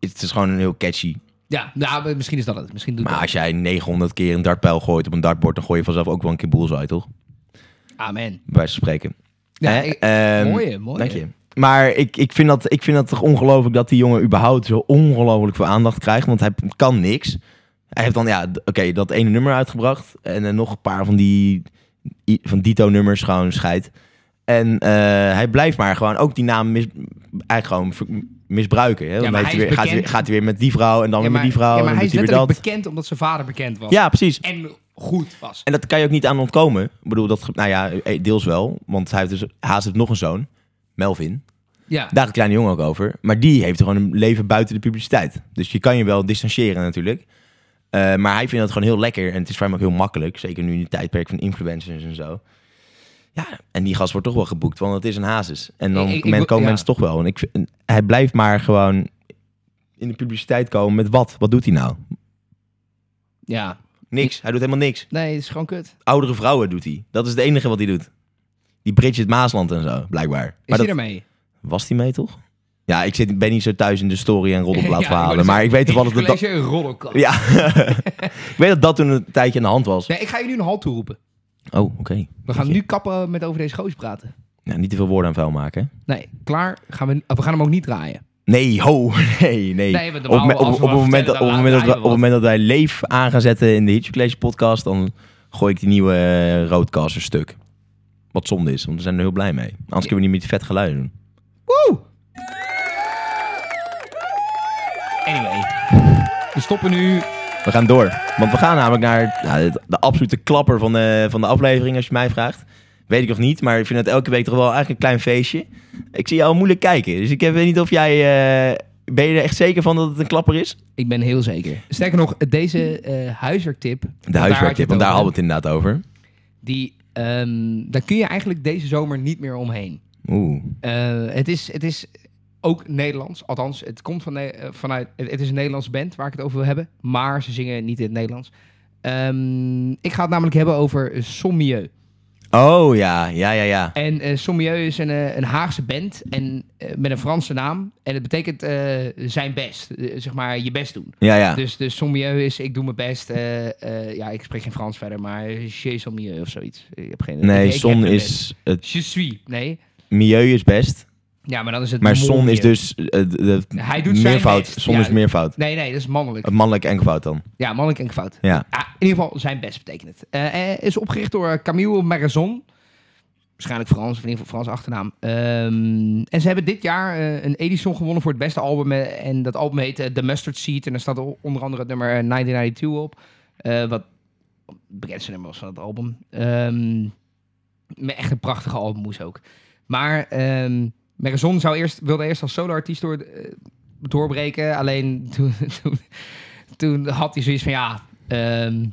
[SPEAKER 2] Het is gewoon een heel catchy.
[SPEAKER 1] Ja, nou, misschien is dat het. Misschien doet
[SPEAKER 2] Maar
[SPEAKER 1] dat.
[SPEAKER 2] als jij 900 keer een dartpijl gooit op een dartbord, dan gooi je vanzelf ook wel een keer boels uit, toch?
[SPEAKER 1] Amen.
[SPEAKER 2] Bij wijze van spreken.
[SPEAKER 1] Ja,
[SPEAKER 2] Hè?
[SPEAKER 1] ik-
[SPEAKER 2] Ehm,
[SPEAKER 1] mooie, mooie.
[SPEAKER 2] Dank je. Maar ik, ik, vind dat, ik vind dat toch ongelooflijk dat die jongen überhaupt zo ongelooflijk veel aandacht krijgt. Want hij kan niks. Hij heeft dan, ja, d- oké, dat ene nummer uitgebracht. En eh, nog een paar van die i- van Dito-nummers gewoon scheid. En eh, hij blijft maar gewoon ook die naam mis, eigenlijk gewoon ver- misbruiken. Hè? Want
[SPEAKER 1] maar
[SPEAKER 2] dan heeft
[SPEAKER 1] hij
[SPEAKER 2] hij
[SPEAKER 1] is
[SPEAKER 2] weer, gaat, hij, weer-
[SPEAKER 1] bekend.
[SPEAKER 2] gaat hij weer met die vrouw en dan
[SPEAKER 1] Ja,
[SPEAKER 2] weer
[SPEAKER 1] maar,
[SPEAKER 2] met die vrouw.
[SPEAKER 1] ja,
[SPEAKER 2] en
[SPEAKER 1] maar
[SPEAKER 2] dan
[SPEAKER 1] hij
[SPEAKER 2] doet
[SPEAKER 1] is
[SPEAKER 2] hij weer
[SPEAKER 1] letterlijk
[SPEAKER 2] dat.
[SPEAKER 1] bekend omdat zijn vader bekend was.
[SPEAKER 2] Ja, precies.
[SPEAKER 1] En goed was.
[SPEAKER 2] En dat kan je ook niet aan ontkomen. Ik bedoel, dat, ge- nou ja, eh, deels wel. Want hij heeft dus, Haas heeft nog een zoon, Melvin.
[SPEAKER 1] Ja,
[SPEAKER 2] Daar had de kleine jongen ook over. Maar die heeft gewoon een leven buiten de publiciteit. Dus je kan je wel distancieren natuurlijk. Eh, maar hij vindt dat gewoon heel lekker. En het is voor hem ook heel makkelijk. Zeker nu in het tijdperk van influencers en zo. Ja, en die gast wordt toch wel geboekt. Want het is een hazes. En dan
[SPEAKER 1] Ik- ik- ik
[SPEAKER 2] men-
[SPEAKER 1] wil-
[SPEAKER 2] komen
[SPEAKER 1] ja.
[SPEAKER 2] mensen toch wel. En ik, vind- en hij blijft maar gewoon in de publiciteit komen met wat? Wat doet hij nou?
[SPEAKER 1] ja.
[SPEAKER 2] Niks. Hij doet helemaal niks.
[SPEAKER 1] Nee, het is gewoon kut.
[SPEAKER 2] Oudere vrouwen doet hij. Dat is het enige wat hij doet. Die Bridget Maasland en zo, blijkbaar. Maar
[SPEAKER 1] Is
[SPEAKER 2] dat-
[SPEAKER 1] hij *laughs* ermee?
[SPEAKER 2] was die mee, toch? Ja, ik zit, ben niet zo thuis in de story *laughs* en roddelplaat
[SPEAKER 1] Ja,
[SPEAKER 2] verhalen.
[SPEAKER 1] wou
[SPEAKER 2] maar ik dus weet
[SPEAKER 1] zeggen,
[SPEAKER 2] toevallig dat dat...
[SPEAKER 1] college roddelkast.
[SPEAKER 2] Ja, *laughs* ik weet dat dat toen een tijdje aan de hand was.
[SPEAKER 1] Nee, ik ga je nu een halt toeroepen.
[SPEAKER 2] Oh, oké.
[SPEAKER 1] We gaan nu kappen met over deze goos praten.
[SPEAKER 2] Nou, niet te veel woorden aan vuil maken. hè?
[SPEAKER 1] Nee, klaar. Gaan we, we gaan hem ook niet draaien.
[SPEAKER 2] Nee, ho, *laughs* nee, nee.
[SPEAKER 1] Nee, want
[SPEAKER 2] op,
[SPEAKER 1] normaal
[SPEAKER 2] me- op,
[SPEAKER 1] als we
[SPEAKER 2] op, het
[SPEAKER 1] wat
[SPEAKER 2] moment dat,
[SPEAKER 1] vertellen,
[SPEAKER 2] op, het
[SPEAKER 1] dan
[SPEAKER 2] moment dat, wij-
[SPEAKER 1] draaien
[SPEAKER 2] op
[SPEAKER 1] we
[SPEAKER 2] het moment dat wij leef aan gaan zetten in de Hitch College podcast, dan gooi ik die nieuwe eh, roadcaster stuk. Wat zonde is, want we zijn er heel blij mee. Anders kunnen we niet meer die vet geluiden doen.
[SPEAKER 1] Anyway. We stoppen nu.
[SPEAKER 2] We gaan door. Want we gaan namelijk naar nou, de, de absolute klapper van de, van de aflevering, als je mij vraagt. Weet ik nog niet, maar ik vind het elke week toch wel eigenlijk een klein feestje. Ik zie jou al moeilijk kijken, dus ik heb- weet niet of jij eh, Ben je er echt zeker van dat het een klapper is?
[SPEAKER 1] Ik ben heel zeker. Sterker nog, deze eh, huiswerktip.
[SPEAKER 2] De huiswerktip, want daar hadden we het inderdaad over.
[SPEAKER 1] Die, ehm, daar kun je eigenlijk deze zomer niet meer omheen.
[SPEAKER 2] Oeh.
[SPEAKER 1] Eh, het, is, het is ook Nederlands. Althans, het komt van, Ne- eh, vanuit. Het, het is een Nederlands band waar ik het over wil hebben. Maar ze zingen niet in het Nederlands. Ehm, ik ga het namelijk hebben over Sommieu. Eh.
[SPEAKER 2] Oh ja, ja, ja, ja.
[SPEAKER 1] En eh Sommieu is een, eh, een Haagse band en, eh, met een Franse naam. En het betekent eh, zijn best. Eh, zeg maar je best doen.
[SPEAKER 2] Ja, ja.
[SPEAKER 1] Dus, dus Sommieu is ik doe mijn best. eh, eh, ja, ik spreek geen Frans verder, maar je Sommieu of zoiets. Ik heb geen ik-
[SPEAKER 2] nee,
[SPEAKER 1] ik heb
[SPEAKER 2] son
[SPEAKER 1] mijn
[SPEAKER 2] is... Het
[SPEAKER 1] best. Je suis. Nee.
[SPEAKER 2] milieu is best.
[SPEAKER 1] Ja, maar dan is het.
[SPEAKER 2] Maar son is
[SPEAKER 1] Molmieux.
[SPEAKER 2] dus... eh, de, de-
[SPEAKER 1] Hij doet zijn
[SPEAKER 2] meervoud.
[SPEAKER 1] best.
[SPEAKER 2] Son
[SPEAKER 1] Ja.
[SPEAKER 2] is meervoud.
[SPEAKER 1] Nee, nee, dat is mannelijk.
[SPEAKER 2] Het mannelijk enkelvoud dan.
[SPEAKER 1] Ja, mannelijk en fout.
[SPEAKER 2] Ja.
[SPEAKER 1] Ah, in ieder geval zijn best betekent het. Eh, eh, is opgericht door Camille Marazon. Waarschijnlijk Frans, of in ieder geval Frans achternaam. Ehm, en ze hebben dit jaar eh, een Edison gewonnen voor het beste album. eh, en dat album heet eh, The Mustard Seed. En daar staat o- onder andere het nummer eh, 1992 op. Eh, wat het bekendste nummer was van het album. Ehm, met echt een prachtige albummoes ook. Maar ehm Marazon zou eerst, wilde eerst als solo-artiest door, eh, doorbreken. Alleen *laughs* toen, toen, toen had hij zoiets van ja... ehm,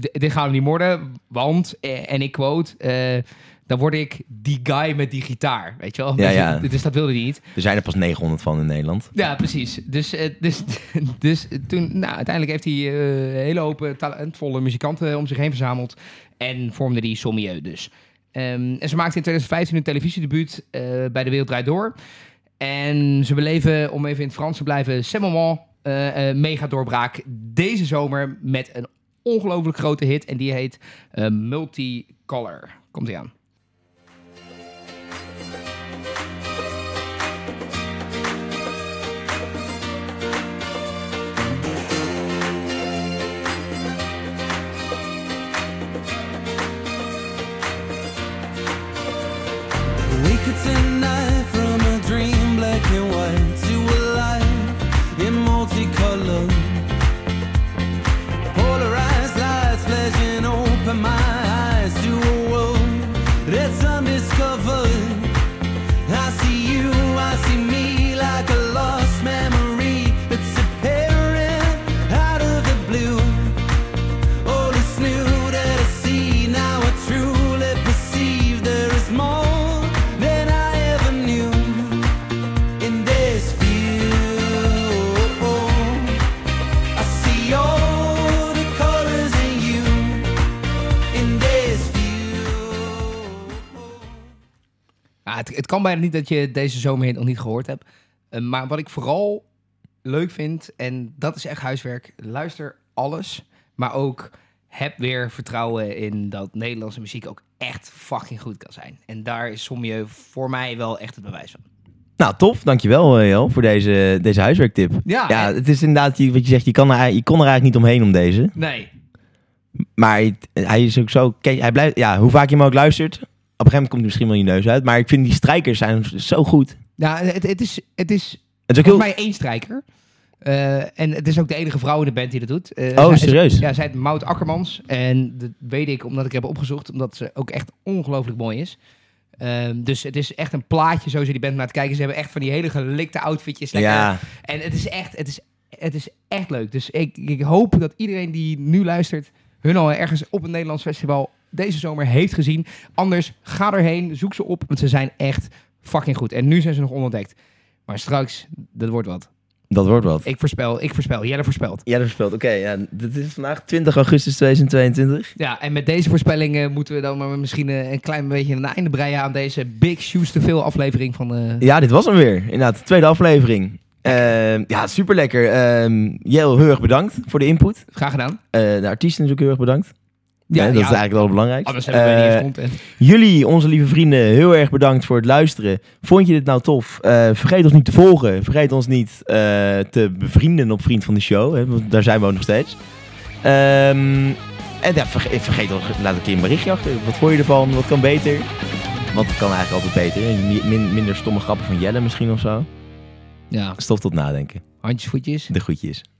[SPEAKER 1] D- dit gaan we niet worden, want, eh, en ik quote, eh, dan word ik die guy met die gitaar, weet je wel?
[SPEAKER 2] Ja,
[SPEAKER 1] dus,
[SPEAKER 2] ja.
[SPEAKER 1] dus dat wilde hij niet.
[SPEAKER 2] Er zijn er pas 900 van in Nederland.
[SPEAKER 1] Ja, precies. Dus, eh, dus, *laughs* dus toen, nou, uiteindelijk heeft hij eh, een hele hoop eh, talentvolle muzikanten eh, om zich heen verzameld en vormde die Sommieu dus. Ehm, en ze maakte in 2015 een televisiedebuut eh, bij De Wereld Draait Door. En ze beleven, om even in het Frans te blijven, c'est moment, eh, eh, mega doorbraak deze zomer met een ongelooflijk grote hit. En die heet eh, Multicolor. Komt ie aan.
[SPEAKER 5] We could tonight from a dream black and white to a life in multicolor. Polarized lights flashing open my eyes to a world that's undiscovered. I see you, I see me like a lost memory. It's apparent out of the blue. All is new that I see now. I truly perceive there is more than I ever knew in this view. I see all the colors in you in this view.
[SPEAKER 1] Ja, Nou, het, het kan bijna niet dat je deze zomer nog niet gehoord hebt. Eh, maar wat ik vooral leuk vind, en dat is echt huiswerk, luister alles. Maar ook heb weer vertrouwen in dat Nederlandse muziek ook echt fucking goed kan zijn. En daar is Sommieu voor mij wel echt het bewijs van.
[SPEAKER 2] Nou, tof. Dankjewel, eh, Jo, voor deze, deze huiswerktip.
[SPEAKER 1] Ja,
[SPEAKER 2] ja,
[SPEAKER 1] en-
[SPEAKER 2] het is inderdaad die- wat je zegt. Je, kan er, ei- je kon er eigenlijk niet omheen om deze.
[SPEAKER 1] Nee,
[SPEAKER 2] Maar het- hij is ook zo... ken- Hij blijft, ja, hoe vaak je hem ook luistert, op een gegeven moment komt hij misschien wel je neus uit. Maar ik vind die strijkers zijn zo goed.
[SPEAKER 1] ja, Nou, het, het is, het is
[SPEAKER 2] Het is ook heel...
[SPEAKER 1] volgens mij één strijker. Eh, en het is ook de enige vrouw in de band die dat doet. Eh,
[SPEAKER 2] Oh,
[SPEAKER 1] zij-
[SPEAKER 2] serieus?
[SPEAKER 1] Ja, zij heet Maud Akkermans. En dat weet ik omdat ik heb opgezocht, omdat ze ook echt ongelooflijk mooi is. Ehm, dus het is echt een plaatje, zo ze die band naar te kijken. Ze hebben echt van die hele gelikte outfitjes. Lekker.
[SPEAKER 2] Ja.
[SPEAKER 1] En het is, echt, het, is, het is echt leuk. Dus ik, ik hoop dat iedereen die nu luistert, hun al ergens op een Nederlands festival deze zomer heeft gezien. Anders ga erheen, zoek ze op, want ze zijn echt fucking goed. En nu zijn ze nog onontdekt. Maar straks, dat wordt wat.
[SPEAKER 2] Dat wordt wat.
[SPEAKER 1] Ik voorspel, ik voorspel, Jelle voorspelt.
[SPEAKER 2] Ja, dat speelt. Oké, ja, dit is vandaag 20 augustus 2022.
[SPEAKER 1] Ja, en met deze voorspellingen moeten we dan maar misschien eh, een klein beetje een einde breien aan deze Big Shoes te veel aflevering van... eh,
[SPEAKER 2] Ja, dit was hem weer. Inderdaad, de tweede aflevering. Ehm, ja, super lekker. Jel, heel erg bedankt voor de input.
[SPEAKER 1] Graag gedaan.
[SPEAKER 2] Eh, de artiesten natuurlijk heel erg bedankt. Ja, dat is eigenlijk wel belangrijk.
[SPEAKER 1] Anders hebben we niet
[SPEAKER 2] Eh,
[SPEAKER 1] eens content.
[SPEAKER 2] Jullie, onze lieve vrienden, heel erg bedankt voor het luisteren. Vond je dit nou tof? Eh, vergeet ons niet te volgen. Vergeet ons niet eh, te bevrienden op Vriend van de Show. Hè, want daar zijn we ook nog steeds. Ehm, en ja, verge- eh, vergeet ons, laat een keer een berichtje achter. Wat vond je ervan? Wat kan beter? Want het kan eigenlijk altijd beter. Mi- min- minder stomme grappen van Jelle misschien of zo.
[SPEAKER 1] Ja,
[SPEAKER 2] Stof tot nadenken.
[SPEAKER 1] handjes, voetjes.
[SPEAKER 2] De groetjes.